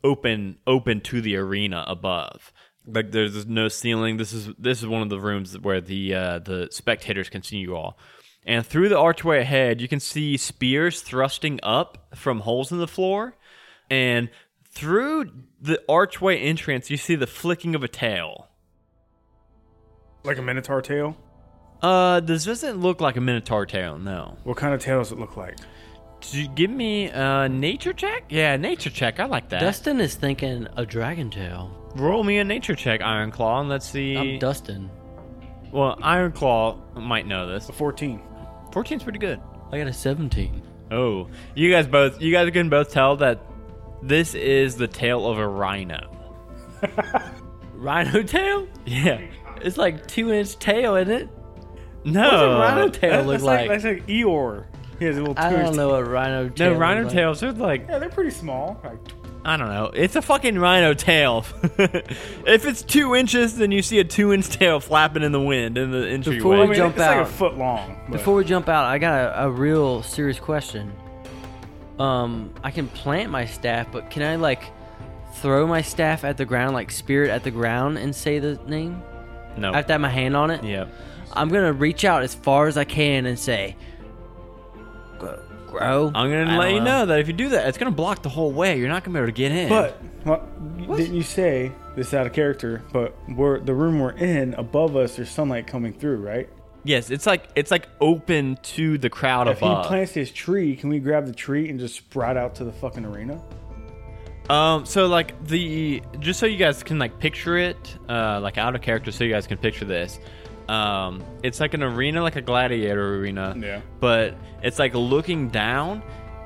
Speaker 1: open open to the arena above like there's no ceiling this is this is one of the rooms where the uh the spectators can see you all and through the archway ahead you can see spears thrusting up from holes in the floor and through the archway entrance you see the flicking of a tail
Speaker 3: Like a Minotaur tail.
Speaker 1: uh this doesn't look like a minotaur tail no
Speaker 3: What kind of tail does it look like?
Speaker 1: Did you give me a nature check yeah nature check i like that
Speaker 2: Dustin is thinking a dragon tail.
Speaker 1: roll me a nature check iron claw and let's see
Speaker 2: I'm Dustin.
Speaker 1: well iron claw might know this
Speaker 3: A fourteen.
Speaker 1: 14's pretty good
Speaker 2: I got a 17.
Speaker 1: oh you guys both you guys can both tell that this is the tail of a rhino
Speaker 2: Rhino tail?
Speaker 1: yeah
Speaker 2: It's like two inch tail, isn't it?
Speaker 1: No,
Speaker 2: What does a rhino Uh, tail
Speaker 3: That-
Speaker 2: look
Speaker 3: that's like,
Speaker 2: like?
Speaker 3: that's like Eeyore. He has a little.
Speaker 2: I don't
Speaker 3: tooth.
Speaker 2: know what rhino tail.
Speaker 1: no
Speaker 2: look
Speaker 1: rhino
Speaker 2: like.
Speaker 1: tails are like
Speaker 3: Yeah, they're pretty small. Like,
Speaker 1: I don't know. It's a fucking rhino tail. if it's two inches, then you see a two-inch tail flapping in the wind in the entryway.
Speaker 2: Before we
Speaker 3: I mean,
Speaker 2: jump
Speaker 3: it's like
Speaker 2: out.
Speaker 3: a foot long. but-
Speaker 2: Before we jump out, I got a, a real serious question. Um, I can plant my staff, but can I like throw my staff at the ground, like spirit at the ground, and say the name?
Speaker 1: no.
Speaker 2: I have to have my hand on it.
Speaker 1: yeah.
Speaker 2: I'm gonna reach out as far as I can and say, "Grow." grow."
Speaker 1: I'm
Speaker 2: I
Speaker 1: gonna
Speaker 2: don't
Speaker 1: let you know that if you do that, it's gonna block the whole way. You're not gonna be able to get in.
Speaker 3: But well, didn't you say this out of character? But we're the room we're in above us. There's sunlight coming through, right?
Speaker 1: yes, it's like it's like open to the crowd
Speaker 3: If he
Speaker 1: above.
Speaker 3: plants his tree, can we grab the tree and just sprout out to the fucking arena?
Speaker 1: Um, so like the just so you guys can like picture it, uh, like out of character, so you guys can picture this. Um, it's like an arena, like a gladiator arena.
Speaker 3: Yeah.
Speaker 1: But it's like looking down,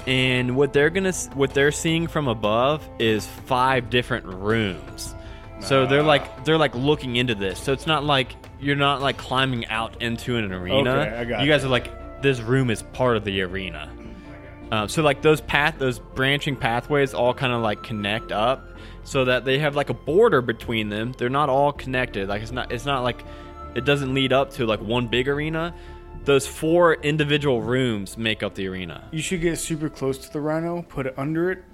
Speaker 1: and what they're gonna s- what they're seeing from above is five different rooms. So they're like they're like looking into this. So it's not like you're not like climbing out into an arena.
Speaker 3: Okay, I got
Speaker 1: you guys are like this room is part of the arena. Uh, so like those path, those branching pathways all kind of like connect up, so that they have like a border between them. They're not all connected. Like it's not, it's not like it doesn't lead up to like one big arena. Those four individual rooms make up the arena.
Speaker 3: You should get super close to the rhino, put it under it,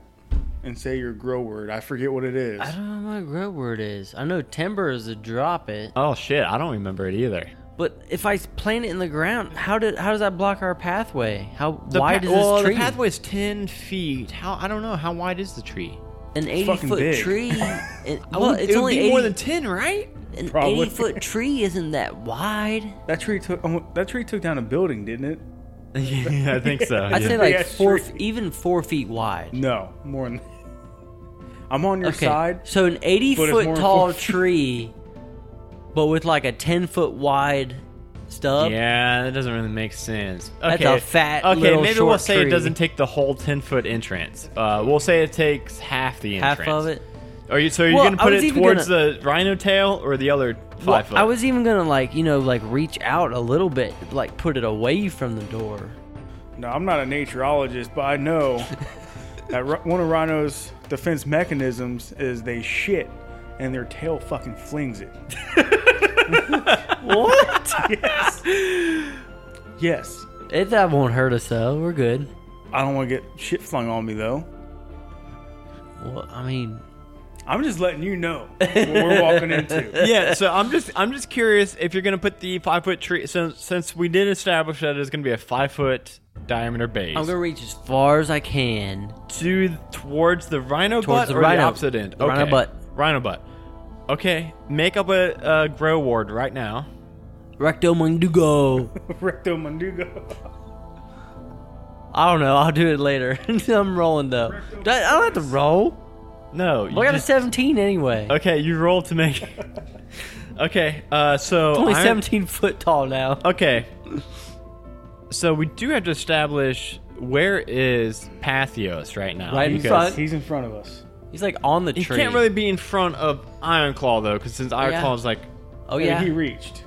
Speaker 3: and say your grow word. I forget what it is.
Speaker 2: I don't know what my grow word is. I know timber is a drop it,
Speaker 1: Oh shit, I don't remember it either.
Speaker 2: but if I plant it in the ground, how did how does that block our pathway? How
Speaker 1: The
Speaker 2: wide
Speaker 1: pa-
Speaker 2: is
Speaker 1: well,
Speaker 2: this tree?
Speaker 1: the pathway is ten feet. How I don't know how wide is the tree.
Speaker 2: an 80
Speaker 3: fucking
Speaker 2: foot
Speaker 3: big.
Speaker 2: tree. it- well,
Speaker 1: It would-
Speaker 2: it's
Speaker 1: it would
Speaker 2: only
Speaker 1: be
Speaker 2: 80,
Speaker 1: more than ten, right?
Speaker 2: an
Speaker 3: Probably.
Speaker 2: 80 foot tree isn't that wide.
Speaker 3: That tree took um, that tree took down a building, didn't it?
Speaker 1: yeah, I think so.
Speaker 2: I'd
Speaker 1: yeah.
Speaker 2: say like
Speaker 3: Big-ass
Speaker 2: four,
Speaker 3: tree.
Speaker 2: f- even four feet wide.
Speaker 3: No, more than. I'm on your
Speaker 2: Okay,
Speaker 3: side.
Speaker 2: so an 80
Speaker 3: but it's more
Speaker 2: foot
Speaker 3: than
Speaker 2: tall
Speaker 3: four feet.
Speaker 2: tree, but with like a 10 foot wide stub.
Speaker 1: Yeah, that doesn't really make sense.
Speaker 2: That's
Speaker 1: Okay.
Speaker 2: a fat
Speaker 1: Okay,
Speaker 2: little
Speaker 1: maybe we'll
Speaker 2: short
Speaker 1: say it
Speaker 2: tree.
Speaker 1: doesn't take the whole ten foot entrance. Uh, we'll say it takes half the entrance.
Speaker 2: Half of it.
Speaker 1: Are you so are you
Speaker 2: Well,
Speaker 1: gonna
Speaker 2: I
Speaker 1: put
Speaker 2: was
Speaker 1: it
Speaker 2: even
Speaker 1: towards the rhino tail or the other five
Speaker 2: Well,
Speaker 1: foot?
Speaker 2: I was even gonna like you know like reach out a little bit, like put it away from the door.
Speaker 3: No, I'm not a naturologist, but I know that ri- one of rhinos' defense mechanisms is they shit and their tail fucking flings it.
Speaker 2: What?
Speaker 3: Yes.
Speaker 2: it, that won't hurt us though. We're good.
Speaker 3: I don't want to get shit flung on me though.
Speaker 2: Well, I mean,
Speaker 3: I'm just letting you know what we're walking into.
Speaker 1: yeah, so I'm just I'm just curious if you're gonna put the five foot tree since since we did establish that it's gonna be a five foot diameter base
Speaker 2: I'm gonna reach as far as I can.
Speaker 1: to towards the rhino
Speaker 2: Towards
Speaker 1: butt
Speaker 2: the
Speaker 1: or
Speaker 2: rhino.
Speaker 1: the opposite end.
Speaker 2: The rhino
Speaker 1: Okay.
Speaker 2: butt.
Speaker 1: Rhino butt. Okay, make up a, a grow ward right now.
Speaker 2: Recto Mundugo.
Speaker 3: Recto Mundugo.
Speaker 2: I don't know. I'll do it later. I'm rolling though. Do I I don't have to roll.
Speaker 1: No, you
Speaker 2: I got a
Speaker 1: just-
Speaker 2: 17 anyway.
Speaker 1: Okay, you roll to make. okay, uh, so
Speaker 2: It's only
Speaker 1: iron-
Speaker 2: 17 foot tall now.
Speaker 1: Okay, so we do have to establish where is Pathios right now.
Speaker 2: Right in
Speaker 1: because
Speaker 2: front.
Speaker 3: He's in front of us.
Speaker 2: He's like on the
Speaker 1: He
Speaker 2: tree.
Speaker 1: can't really be in front of Ironclaw though, because since Ironclaw is like,
Speaker 2: Oh
Speaker 3: And
Speaker 2: yeah.
Speaker 3: He reached.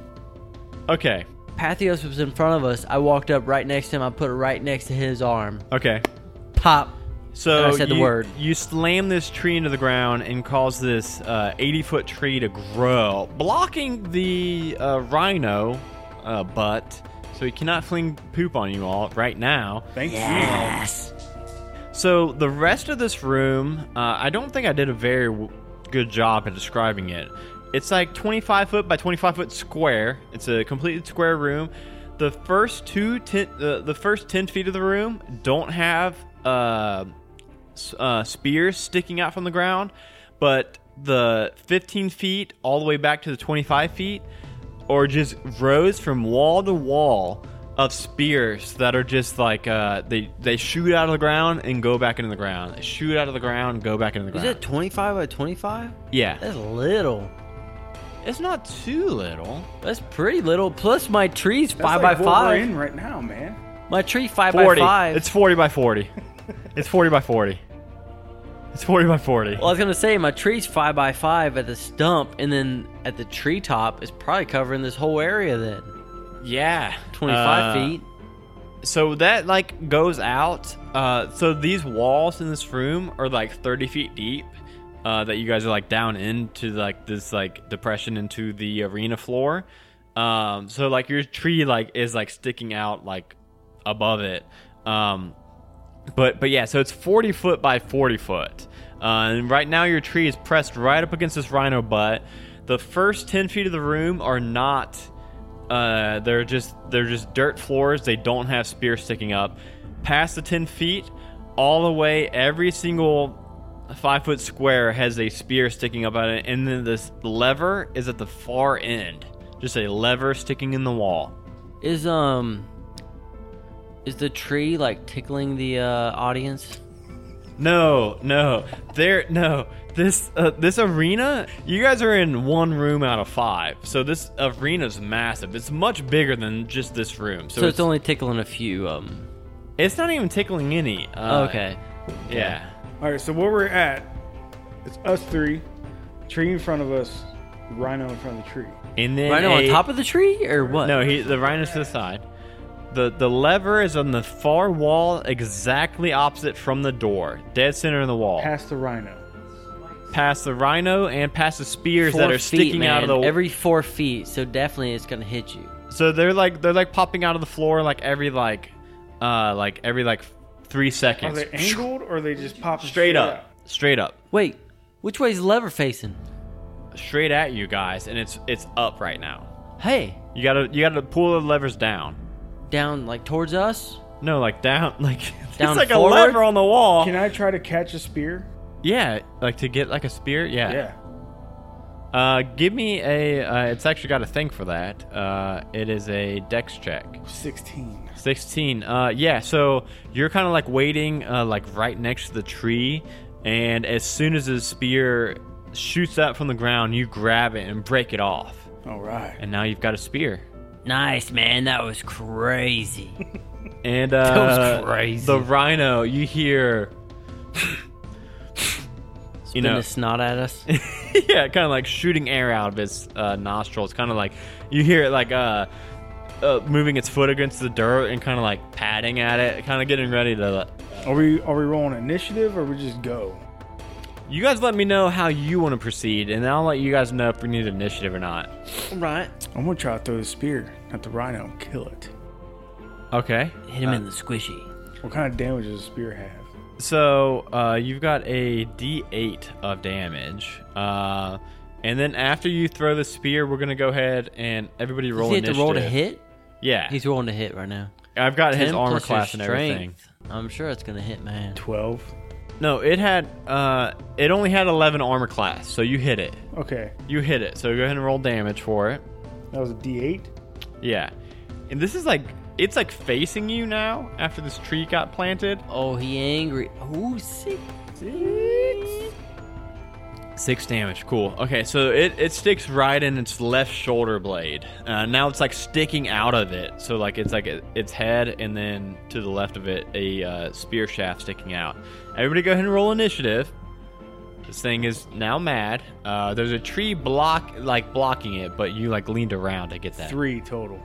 Speaker 1: okay,
Speaker 2: Pathios was in front of us. I walked up right next to him. I put it right next to his arm.
Speaker 1: okay.
Speaker 2: Pop.
Speaker 1: So
Speaker 2: And I said the
Speaker 1: you,
Speaker 2: word.
Speaker 1: You slam this tree into the ground and cause this uh, 80 foot tree to grow, blocking the uh, rhino uh, butt, so he cannot fling poop on you all right now.
Speaker 3: Thank you.
Speaker 2: Yes.
Speaker 1: So the rest of this room, uh, I don't think I did a very w- good job at describing it. It's like 25 foot by 25 foot square. It's a completely square room. The first two ten, uh, the first 10 feet of the room don't have uh, s- uh, spears sticking out from the ground, but the 15 feet all the way back to the 25 feet or just rows from wall to wall of spears that are just like uh, they they shoot out of the ground and go back into the ground. They shoot out of the ground and go back into the
Speaker 2: Is
Speaker 1: ground.
Speaker 2: it uh, 25 by 25?
Speaker 1: yeah,
Speaker 2: That's little.
Speaker 1: it's not too little.
Speaker 2: That's pretty little. Plus my tree's
Speaker 3: That's
Speaker 2: five
Speaker 3: like
Speaker 2: by
Speaker 3: what we're
Speaker 2: five.
Speaker 3: in right now, man.
Speaker 2: My tree five
Speaker 1: Forty.
Speaker 2: by five.
Speaker 1: It's forty by forty. it's forty by forty. It's forty by forty.
Speaker 2: well, I was gonna say my tree's five by five at the stump, and then at the treetop is probably covering this whole area. Then
Speaker 1: Yeah,
Speaker 2: 25
Speaker 1: Uh,
Speaker 2: feet.
Speaker 1: So that like goes out. Uh, so these walls in this room are like 30 feet deep. Uh, that you guys are like down into like this like depression into the arena floor. Um, so like your tree like is like sticking out like above it. Um, but but yeah, so it's 40 foot by 40 foot. Uh, and right now your tree is pressed right up against this rhino butt. The first 10 feet of the room are not uh, they're just they're just dirt floors. They don't have spears sticking up. Past the 10 feet, all the way, every single five foot square has a spear sticking up on it, and then this lever is at the far end. Just a lever sticking in the wall.
Speaker 2: Is um is the tree like tickling the uh audience?
Speaker 1: No, no, there, no. This uh, this arena, you guys are in one room out of five, so this arena's massive. It's much bigger than just this room. So,
Speaker 2: So, it's, only tickling a few um
Speaker 1: it's not even tickling any. Uh,
Speaker 2: okay.
Speaker 1: Yeah.
Speaker 3: All right, so where we're at, it's us three, tree in front of us, rhino in front of the tree.
Speaker 1: And then
Speaker 2: Rhino on
Speaker 1: a-
Speaker 2: top of the tree or what?
Speaker 1: No, he the rhino's to the side. The the lever is on the far wall, exactly opposite from the door, dead center in the wall.
Speaker 3: Past the rhino.
Speaker 1: Past the rhino and past the spears
Speaker 2: four
Speaker 1: that are
Speaker 2: feet,
Speaker 1: sticking out of
Speaker 2: man.
Speaker 1: the
Speaker 2: every four feet, so definitely it's gonna hit you.
Speaker 1: So they're like they're like popping out of the floor like every like uh like every like three
Speaker 3: Are
Speaker 1: seconds.
Speaker 3: they angled or are they just popping
Speaker 1: Straight
Speaker 3: out?
Speaker 1: up. Straight up.
Speaker 2: Wait, which way is the lever facing?
Speaker 1: Straight at you guys, and it's it's up right now.
Speaker 2: Hey,
Speaker 1: You gotta you gotta pull the levers down.
Speaker 2: down like towards us?
Speaker 1: No, like down like it's
Speaker 2: Down
Speaker 1: like
Speaker 2: forward?
Speaker 1: a lever on the wall.
Speaker 3: Can I try to catch a spear?
Speaker 1: yeah, like to get like a spear.
Speaker 3: Yeah.
Speaker 1: Uh, give me a. Uh, it's actually got a thing for that. Uh, it is a dex check.
Speaker 3: 16.
Speaker 1: Sixteen. Uh, yeah. So you're kind of like waiting, uh, like right next to the tree, and as soon as the spear shoots out from the ground, you grab it and break it off,
Speaker 3: All right.
Speaker 1: and now you've got a spear.
Speaker 2: Nice man, that was crazy.
Speaker 1: And uh,
Speaker 2: That was crazy.
Speaker 1: the rhino, you hear,
Speaker 2: Spin
Speaker 1: you know,
Speaker 2: the snot at us.
Speaker 1: yeah, kind of like shooting air out of its uh, nostril. It's kind of like you hear it like uh, uh, moving its foot against the dirt and kind of like patting at it, kind of getting ready to. Let...
Speaker 3: Are we are we rolling initiative or we just go?
Speaker 1: You guys, let me know how you want to proceed, and I'll let you guys know if we need initiative or not.
Speaker 2: right.
Speaker 3: I'm gonna try to throw the spear at the rhino and kill it.
Speaker 1: Okay. Uh,
Speaker 2: Hit him in the squishy.
Speaker 3: What kind of damage does a spear have?
Speaker 1: So uh, you've got a D8 of damage, uh, and then after you throw the spear, we're gonna go ahead and everybody roll
Speaker 2: Does he have to
Speaker 1: initiative.
Speaker 2: roll to hit?
Speaker 1: Yeah,
Speaker 2: He's rolling to hit right now.
Speaker 1: I've got his
Speaker 2: 10
Speaker 1: armor
Speaker 2: plus your
Speaker 1: class and everything.
Speaker 2: strength. I'm sure it's gonna hit, man.
Speaker 3: 12.
Speaker 1: No, it had uh it only had 11 armor class, so you hit it.
Speaker 3: Okay.
Speaker 1: You hit it. So go ahead and roll damage for it.
Speaker 3: That was a D8.
Speaker 1: Yeah. And this is like it's like facing you now after this tree got planted.
Speaker 2: Oh, he angry. Oh, sick.
Speaker 1: 6 damage. Cool. Okay, so it it sticks right in its left shoulder blade. Uh, now it's like sticking out of it. So like it's like it- its head and then to the left of it a uh, spear shaft sticking out. Everybody go ahead and roll initiative. This thing is now mad. Uh, there's a tree block, like blocking it, but you like leaned around to get that.
Speaker 3: Three total.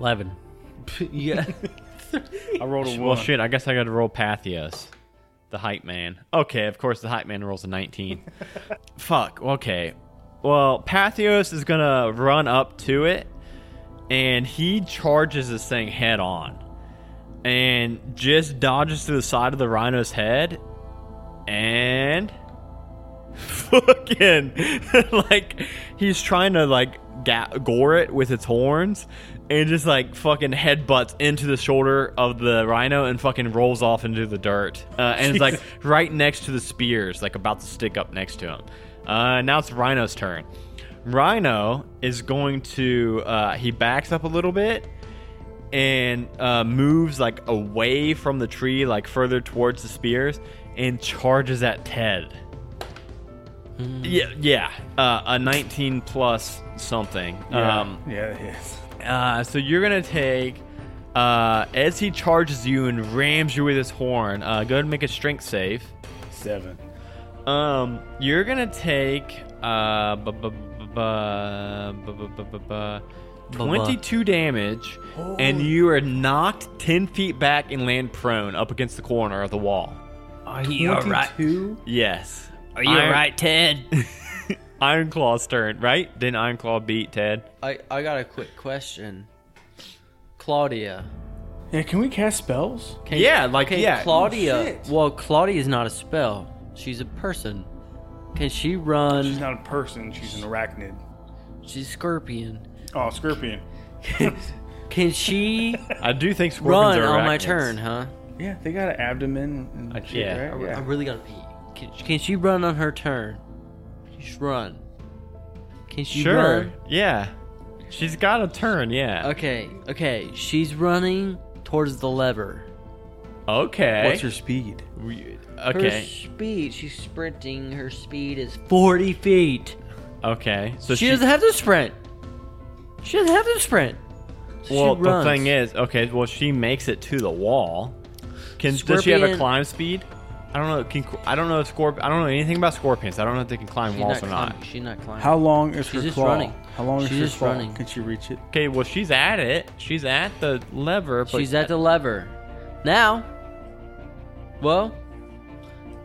Speaker 2: Eleven. yeah.
Speaker 3: I rolled a
Speaker 1: Well,
Speaker 3: one.
Speaker 1: shit. I guess I got to roll Pathios, the hype man. Okay, of course the hype man rolls a 19. Fuck. Okay. Well, Pathios is gonna run up to it, and he charges this thing head on, and just dodges to the side of the rhino's head, and fucking like he's trying to like ga- gore it with its horns and just like fucking headbutts into the shoulder of the rhino and fucking rolls off into the dirt uh, and it's like right next to the spears like about to stick up next to him uh, now it's rhino's turn rhino is going to uh, he backs up a little bit and uh, moves like away from the tree like further towards the spears and charges at ted yeah, yeah. Uh, a 19 plus something. Um,
Speaker 3: yeah, it is.
Speaker 1: uh, so you're gonna take uh, as he charges you and rams you with his horn. Uh, go ahead and make a strength save.
Speaker 3: Seven.
Speaker 1: Um, you're gonna take uh, bu- bu- bu- bu- bu- bu- bu- bu- bu-
Speaker 2: Bubba.
Speaker 1: 22 damage, and you are knocked 10 feet back and land prone up against the corner of the wall.
Speaker 2: Are you alright?
Speaker 1: Yes.
Speaker 2: Are you
Speaker 1: Iron-
Speaker 2: alright, Ted?
Speaker 1: Iron Claw's turn, right? Didn't Iron Claw beat Ted?
Speaker 2: I, I got a quick question. Claudia.
Speaker 3: Yeah, can we cast spells?
Speaker 2: Can,
Speaker 1: Yeah, like,
Speaker 2: can
Speaker 1: yeah.
Speaker 2: Claudia.
Speaker 3: Shit.
Speaker 2: well, Claudia is not a spell. She's a person. Can she run?
Speaker 3: She's
Speaker 2: She's,
Speaker 3: not a person. She's an arachnid.
Speaker 2: a scorpion.
Speaker 3: Oh, scorpion.
Speaker 2: Can she
Speaker 1: I do think scorpions
Speaker 2: run
Speaker 1: are
Speaker 2: on my
Speaker 1: arachnids.
Speaker 2: turn, huh?
Speaker 3: Yeah, they got an abdomen and shit,
Speaker 1: yeah.
Speaker 3: right?
Speaker 2: I really gotta pee. Can, can she run on her turn? Just run. Can she
Speaker 1: Sure.
Speaker 2: run?
Speaker 1: Yeah. She's got a turn, yeah.
Speaker 2: Okay, okay. She's running towards the lever.
Speaker 1: Okay.
Speaker 3: What's her speed?
Speaker 1: We-
Speaker 2: Her
Speaker 1: Okay.
Speaker 2: speed, she's sprinting. Her speed is 40 feet.
Speaker 1: Okay. So
Speaker 2: she, doesn't have to sprint. She doesn't have to sprint.
Speaker 1: Well,
Speaker 2: she
Speaker 1: the
Speaker 2: runs.
Speaker 1: thing is, okay, well, she makes it to the wall. Can does she have a
Speaker 2: Scorpion-
Speaker 1: climb speed? I don't know. Can I don't know if scorp. I don't know anything about scorpions. I don't know if they can climb
Speaker 2: she's
Speaker 1: walls
Speaker 2: not,
Speaker 1: or not.
Speaker 2: climbing. she's not climbing.
Speaker 3: How long is
Speaker 2: She's
Speaker 3: her
Speaker 2: just
Speaker 3: claw?
Speaker 2: running.
Speaker 3: How long is
Speaker 2: She's
Speaker 3: her
Speaker 2: just
Speaker 3: claw?
Speaker 2: running.
Speaker 3: Can she reach it?
Speaker 1: Okay, well, she's at it. She's at the lever. But
Speaker 2: she's at the lever. Now, well,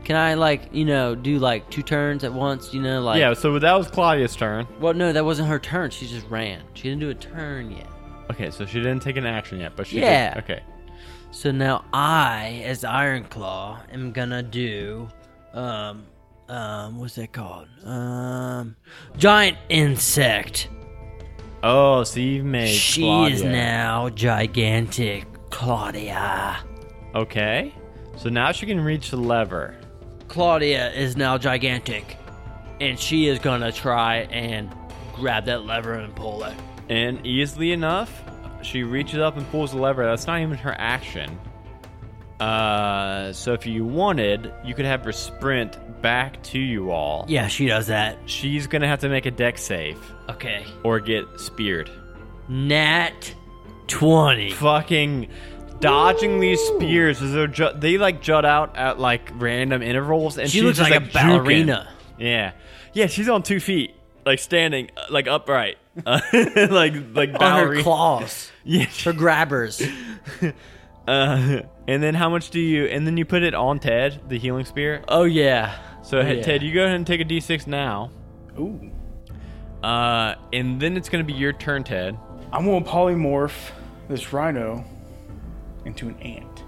Speaker 2: can I, like, you know, do like two turns at once? You know, like.
Speaker 1: yeah. So that was Claudia's turn.
Speaker 2: Well, no, that wasn't her turn. She just ran. She didn't do a turn yet.
Speaker 1: Okay, so she didn't take an action yet, but she did-
Speaker 2: Yeah.
Speaker 1: Okay.
Speaker 2: So now I, as Ironclaw, am gonna do, um, um, what's that called? Um, giant insect.
Speaker 1: Oh, so you made.
Speaker 2: she
Speaker 1: Claudia.
Speaker 2: is now gigantic, Claudia.
Speaker 1: Okay. So now she can reach the lever.
Speaker 2: Claudia is now gigantic, and she is gonna try and grab that lever and pull it.
Speaker 1: And easily enough, she reaches up and pulls the lever. That's not even her action. Uh, so if you wanted, you could have her sprint back to you all.
Speaker 2: Yeah, she does that.
Speaker 1: She's gonna have to make a deck save
Speaker 2: Okay,
Speaker 1: or get speared.
Speaker 2: Nat twenty.
Speaker 1: Fucking dodging these spears as they're ju- they like jut out at like random intervals, and
Speaker 2: She
Speaker 1: she's
Speaker 2: looks
Speaker 1: just,
Speaker 2: like a ballerina.
Speaker 1: juking. Yeah, yeah, she's on two feet, like standing, uh, like upright, Uh, like like
Speaker 2: On her
Speaker 1: ballerina.
Speaker 2: claws,
Speaker 1: Yeah,
Speaker 2: her grabbers.
Speaker 1: Uh, and then how much do you? And then you put it on Ted, the healing spear.
Speaker 2: Oh yeah.
Speaker 1: So hey, Ted, you go ahead and take a D6 now.
Speaker 3: Ooh.
Speaker 1: Uh, and then it's gonna be your turn, Ted.
Speaker 3: I'm gonna polymorph this rhino into an ant.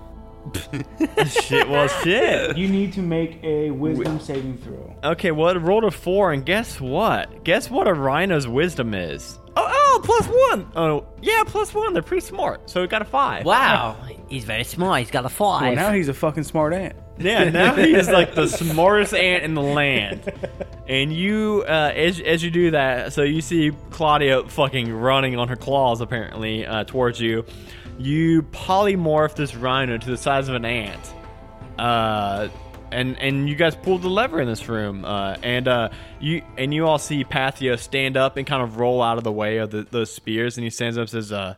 Speaker 1: shit, well, shit.
Speaker 3: You need to make a wisdom saving throw.
Speaker 1: Okay, well, it rolled a four, and guess what? Guess what a rhino's wisdom is? Oh, oh, plus one. Oh, yeah, plus one. They're pretty smart. So we got a five.
Speaker 2: Wow, he's very smart. He's got a
Speaker 3: Well,
Speaker 2: five.
Speaker 3: now he's a fucking smart ant.
Speaker 1: Yeah, now he is like the smartest ant in the land. And you, uh, as, as you do that, so you see Claudia fucking running on her claws, apparently, uh, towards you. You polymorph this rhino to the size of an ant. Uh, and, and you guys pulled the lever in this room, uh, and uh, you and you all see Pathia stand up and kind of roll out of the way of the, those spears, and he stands up and says, uh,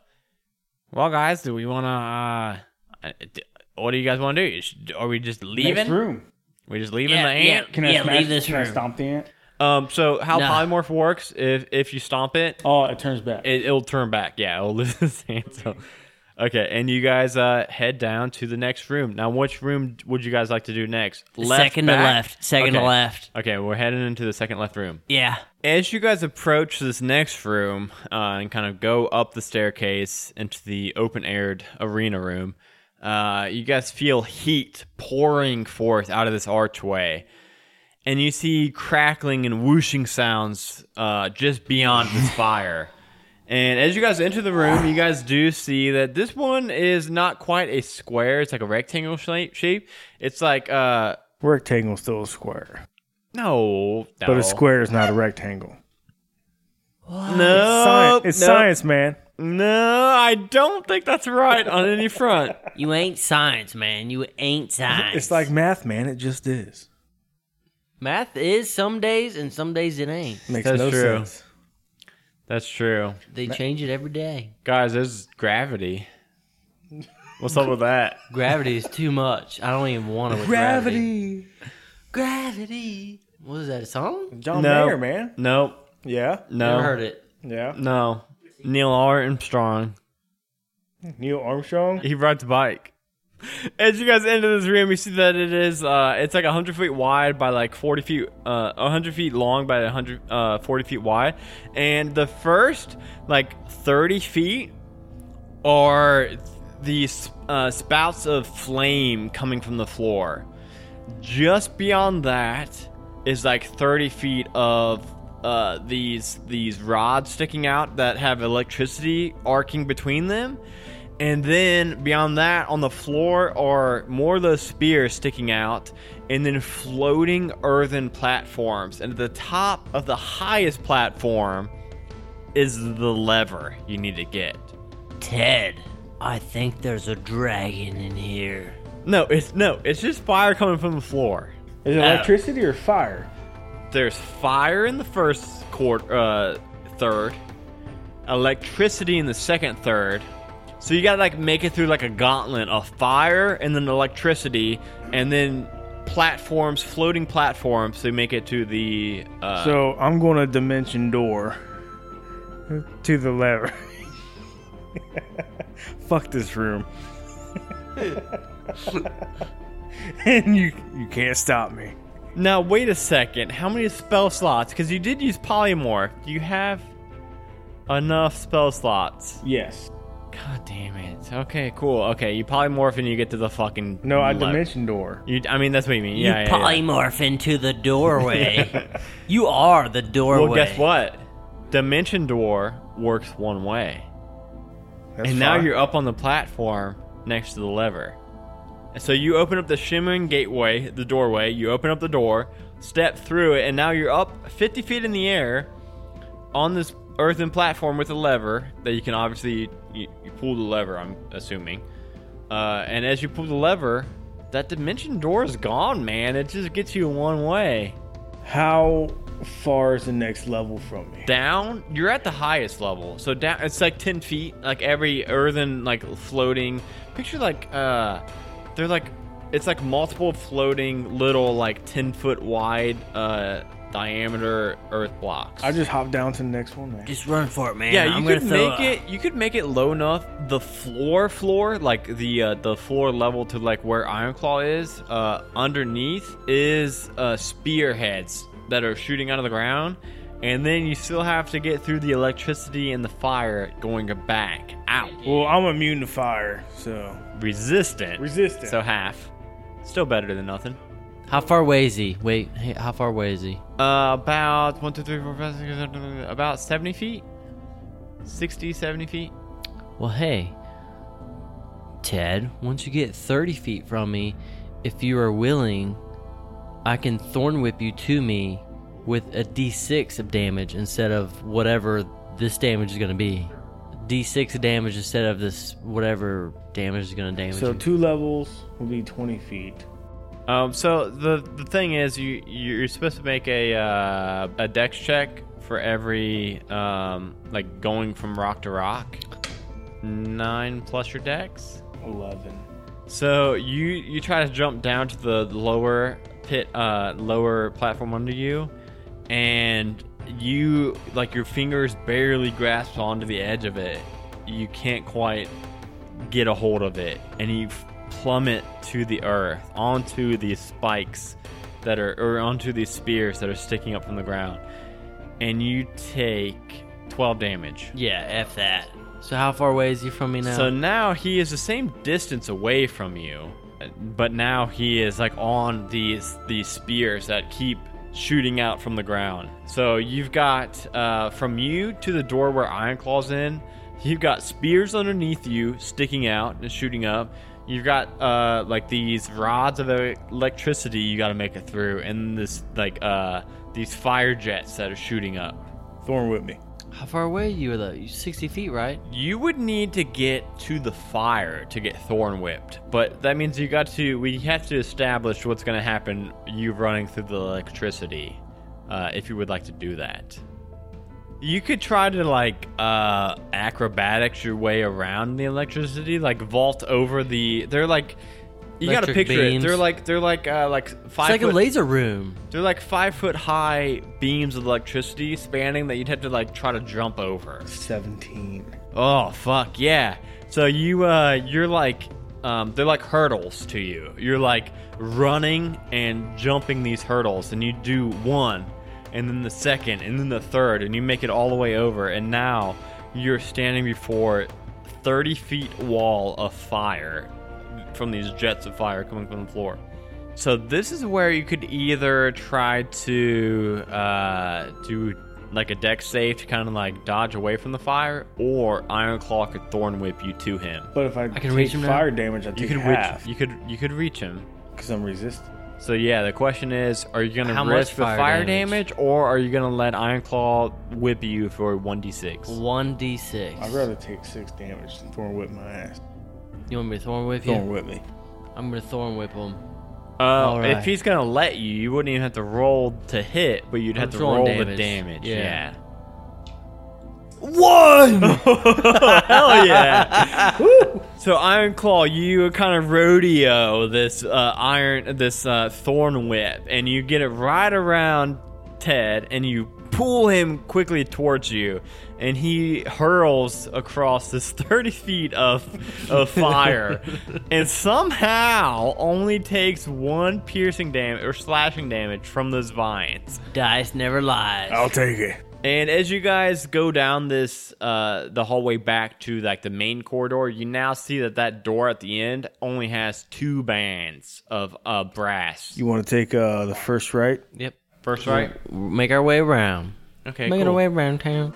Speaker 1: "Well, guys, do we want to? Uh, d- what do you guys want to do? Sh- Are we just
Speaker 3: Next
Speaker 1: leaving?
Speaker 3: room.
Speaker 1: We're just leaving
Speaker 2: Yeah,
Speaker 1: the ant.
Speaker 3: Can I
Speaker 2: Yeah,
Speaker 3: smash,
Speaker 2: leave this
Speaker 3: can I
Speaker 2: room.
Speaker 3: stomp the ant?
Speaker 1: Um, so how
Speaker 2: Nah.
Speaker 1: polymorph works? If if you stomp it,
Speaker 3: Oh, it turns back.
Speaker 1: it it'll turn back. Yeah, it'll lose its hand. So, okay, and you guys uh, head down to the next room. Now, which room would you guys like to do next?
Speaker 2: Second to left. Second to
Speaker 1: Okay.
Speaker 2: left.
Speaker 1: Okay, we're heading into the second left room.
Speaker 2: Yeah.
Speaker 1: As you guys approach this next room uh, and kind of go up the staircase into the open aired arena room, uh, you guys feel heat pouring forth out of this archway. And you see crackling and whooshing sounds uh, just beyond this fire. And as you guys enter the room, you guys do see that this one is not quite a square. It's like a rectangle shape. shape. It's like, uh,
Speaker 3: Rectangle's still a square.
Speaker 1: no, no.
Speaker 3: But a square is not a rectangle.
Speaker 1: No,
Speaker 3: Sci- it's
Speaker 1: no.
Speaker 3: science, man.
Speaker 1: No, I don't think that's right on any front.
Speaker 2: You ain't science, man. You ain't science.
Speaker 3: It's like math, man. It just is.
Speaker 2: math is some days and some days it ain't.
Speaker 3: Makes
Speaker 1: That's
Speaker 3: no
Speaker 1: true.
Speaker 3: sense.
Speaker 1: That's true.
Speaker 2: They change it every day.
Speaker 1: Guys, there's gravity. What's up with that?
Speaker 2: Gravity is too much. I don't even want to. Gravity.
Speaker 3: Gravity.
Speaker 2: Gravity. What is that a song?
Speaker 3: John
Speaker 1: No.
Speaker 3: Mayer, man.
Speaker 1: Nope.
Speaker 3: Yeah.
Speaker 1: No.
Speaker 2: Never heard it.
Speaker 3: Yeah.
Speaker 1: No. Neil Armstrong.
Speaker 3: Neil Armstrong.
Speaker 1: He rides a bike. As you guys enter this room, you see that it is uh, it's like 100 feet wide by like 40 feet, uh, 100 feet long by 100 uh, 40 feet wide, and the first like 30 feet are the uh, spouts of flame coming from the floor. Just beyond that is like 30 feet of uh, these these rods sticking out that have electricity arcing between them. And then beyond that, on the floor are more of those spears sticking out, and then floating earthen platforms. And at the top of the highest platform is the lever you need to get.
Speaker 2: Ted, I think there's a dragon in here.
Speaker 1: No, it's no, it's just fire coming from the floor.
Speaker 3: Is it electricity or fire?
Speaker 1: There's fire in the first quarter, uh, third, electricity in the second third. So you gotta like make it through like a gauntlet of fire and then electricity and then platforms, floating platforms to make it to the. Uh,
Speaker 3: So I'm going to dimension door to the lever. Fuck this room. and you you can't stop me.
Speaker 1: now wait a second, how many spell slots? Because you did use polymorph. Do you have enough spell slots?
Speaker 3: Yes.
Speaker 1: God damn it. Okay, cool. Okay, you polymorph and you get to the fucking.
Speaker 3: No, I
Speaker 1: lever.
Speaker 3: dimension door.
Speaker 1: You, I mean, that's what you mean. Yeah,
Speaker 2: you
Speaker 1: yeah, yeah.
Speaker 2: polymorph into the doorway. you are the doorway.
Speaker 1: Well, guess what? Dimension door works one way.
Speaker 3: That's
Speaker 1: and now
Speaker 3: fine.
Speaker 1: you're up on the platform next to the lever. And So you open up the shimmering gateway, the doorway, you open up the door, step through it, and now you're up 50 feet in the air on this earthen platform with a lever that you can obviously you, you pull the lever, I'm assuming. Uh, and as you pull the lever, that dimension door is gone, man. It just gets you one way.
Speaker 3: How far is the next level from me?
Speaker 1: down you're at the highest level so down it's like 10 feet like every earthen like floating picture like uh they're like it's like multiple floating little like 10 foot wide uh diameter earth blocks
Speaker 3: I just hop down to the next one, man.
Speaker 2: Just run for it, man.
Speaker 1: yeah you
Speaker 2: I'm
Speaker 1: could
Speaker 2: gonna throw
Speaker 1: make
Speaker 2: a-
Speaker 1: it you could make it low enough the floor floor like the uh the floor level to like where ironclaw is uh underneath is uh spearheads that are shooting out of the ground and then you still have to get through the electricity and the fire going back out
Speaker 3: Well, I'm immune to fire, so
Speaker 1: resistant
Speaker 3: Resistant.
Speaker 1: so half still better than nothing
Speaker 2: How far away is he? Wait, hey, how far away is he?
Speaker 1: uh, about one two three four five six seven, eight, nine, about 70 feet 60 70 feet
Speaker 2: Well, hey, Ted, once you get 30 feet from me, if you are willing, I can thorn whip you to me with a d6 of damage instead of whatever this damage is going to be. D6 of damage instead of this whatever damage is going to damage.
Speaker 3: so
Speaker 2: you.
Speaker 3: two levels will be 20 feet.
Speaker 1: Um, so the the thing is, you you're supposed to make a uh, a dex check for every um, like going from rock to rock. Nine plus your dex.
Speaker 3: 11.
Speaker 1: So you you try to jump down to the lower pit, uh, lower platform under you, and you like your fingers barely grasp onto the edge of it. You can't quite get a hold of it, and you f- plummet to the earth onto these spikes that are or onto these spears that are sticking up from the ground, and you take twelve damage.
Speaker 2: yeah, F that. So, how far away is he from me now?
Speaker 1: So now he is the same distance away from you, but now he is like on these these spears that keep shooting out from the ground. So you've got uh, from you to the door where Ironclaw's in. You've got spears underneath you sticking out and shooting up. You've got uh, like these rods of electricity you got to make it through, and this like uh, these fire jets that are shooting up.
Speaker 3: Thorn with me.
Speaker 2: how far away are you, though? You're 60 feet, right?
Speaker 1: You would need to get to the fire to get thorn whipped, but that means you got to. We have to establish what's going to happen. You running through the electricity, uh, if you would like to do that. You could try to like uh, acrobatics your way around the electricity, like vault over the. They're like
Speaker 4: You got to
Speaker 2: Electric
Speaker 4: picture
Speaker 2: beams.
Speaker 4: it. They're like they're like uh, like
Speaker 2: It's
Speaker 4: five.
Speaker 2: like a
Speaker 4: foot-
Speaker 2: laser room.
Speaker 4: They're like five foot high beams of electricity spanning that you'd have to like try to jump over.
Speaker 3: 17.
Speaker 4: Oh fuck yeah! So you uh you're like um they're like hurdles to you. You're like running and jumping these hurdles, and you do one, and then the second, and then the third, and you make it all the way over, and now you're standing before thirty feet wall of fire from these jets of fire coming from the floor. So this is where you could either try to uh, do like a deck save to kind of like dodge away from the fire, or Iron Claw could Thorn Whip you to him.
Speaker 3: But if I,
Speaker 2: can
Speaker 3: take
Speaker 2: reach him now?
Speaker 3: fire damage, I take
Speaker 4: You could reach.
Speaker 3: half
Speaker 4: You could you could reach him.
Speaker 3: because I'm resistant.
Speaker 4: So yeah, the question is, are you gonna
Speaker 2: How much
Speaker 4: risk the
Speaker 2: fire
Speaker 4: fire
Speaker 2: damage?
Speaker 4: damage? or are you gonna let Iron Claw whip you for one d six?
Speaker 2: One d six.
Speaker 3: I'd rather take six damage than thorn whip my ass.
Speaker 2: You want me to thorn whip you?
Speaker 3: Thorn whip me.
Speaker 2: I'm gonna thorn whip him.
Speaker 4: Uh,
Speaker 2: Alright.
Speaker 4: If he's gonna let you, you wouldn't even have to roll to hit, but you'd
Speaker 2: I'm
Speaker 4: have to
Speaker 2: throwing
Speaker 4: roll
Speaker 2: damage.
Speaker 4: the damage.
Speaker 2: Yeah.
Speaker 4: yeah. One! Hell yeah! Woo! so Iron Claw, you kind of rodeo this uh, iron, this uh, thorn whip, and you get it right around Ted, and you pull him quickly towards you, and he hurls across this thirty feet of of fire, and somehow only takes one piercing damage or slashing damage from those vines.
Speaker 2: Dice never lies.
Speaker 3: I'll take it.
Speaker 4: And as you guys go down this, uh, the hallway back to like the main corridor, you now see that that door at the end only has two bands of uh, brass.
Speaker 3: You want to take uh, the first right?
Speaker 2: Yep.
Speaker 4: First, right?
Speaker 2: Make our way around.
Speaker 4: Okay,
Speaker 2: Make our
Speaker 4: cool.
Speaker 2: way around town.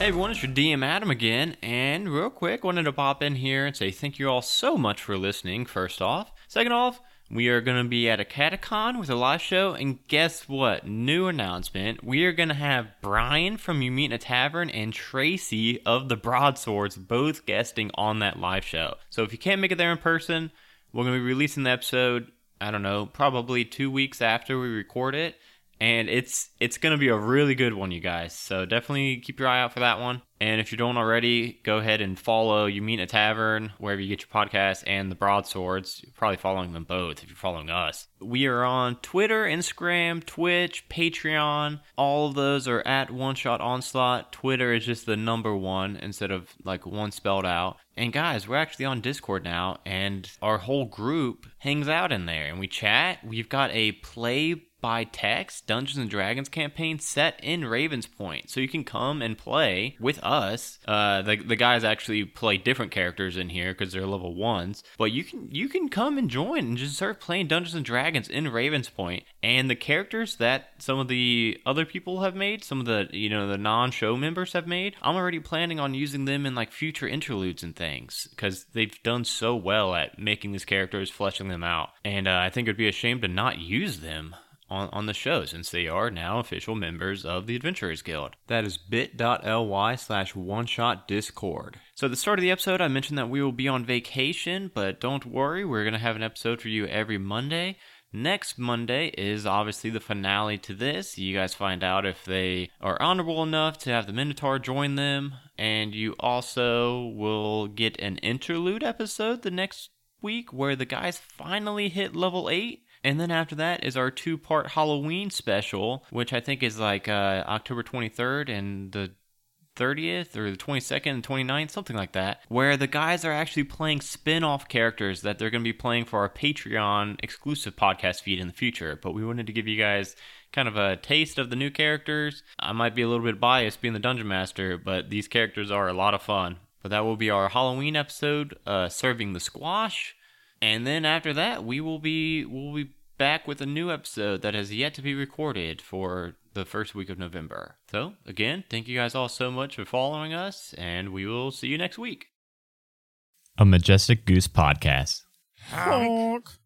Speaker 1: Hey everyone, it's your DM Adam again, and real quick, wanted to pop in here and say thank you all so much for listening, first off. Second off, we are going to be at a catacon with a live show, and guess what? New announcement. We are going to have Brian from You Meet in a Tavern and Tracy of the Broadswords both guesting on that live show. So if you can't make it there in person, we're going to be releasing the episode, I don't know, probably two weeks after we record it and it's it's gonna be a really good one, you guys. So definitely keep your eye out for that one. And if you don't already, go ahead and follow You Meet in a Tavern wherever you get your podcast and the Broadswords. You're probably following them both if you're following us. We are on Twitter, Instagram, Twitch, Patreon. All of those are at One Shot Onslaught. Twitter is just the number one instead of like one spelled out. And guys, we're actually on Discord now, and our whole group hangs out in there and we chat. We've got a play by text Dungeons and Dragons campaign set in Raven's Point. So you can come and play with us. Uh, the, the guys actually play different characters in here because they're level ones. But you can you can come and join and just start playing Dungeons and Dragons in Raven's Point. And the characters that some of the other people have made, some of the you know the non-show members have made, I'm already planning on using them in like future interludes and things because they've done so well at making these characters, fleshing them out. And uh, I think it'd be a shame to not use them on, on the show since they are now official members of the Adventurers Guild. That is bit.ly slash one shot discord. So at the start of the episode, I mentioned that we will be on vacation, but don't worry, we're going to have an episode for you every Monday. Next Monday is obviously the finale to this. You guys find out if they are honorable enough to have the Minotaur join them, and you also will get an interlude episode the next week where the guys finally hit level 8 and then after that is our two part Halloween special, which I think is like uh, October 23rd and the 30th or the 22nd and 29th, something like that, where the guys are actually playing spin off characters that they're going to be playing for our Patreon exclusive podcast feed in the future. But we wanted to give you guys kind of a taste of the new characters. I might be a little bit biased being the Dungeon Master, but these characters are a lot of fun. But that will be our Halloween episode, uh, Serving the Squash. And then after that, we will be we'll be back with a new episode that has yet to be recorded for the first week of November. So, again, thank you guys all so much for following us, and we will see you next week.
Speaker 5: A Majestic Goose podcast.
Speaker 3: Honk.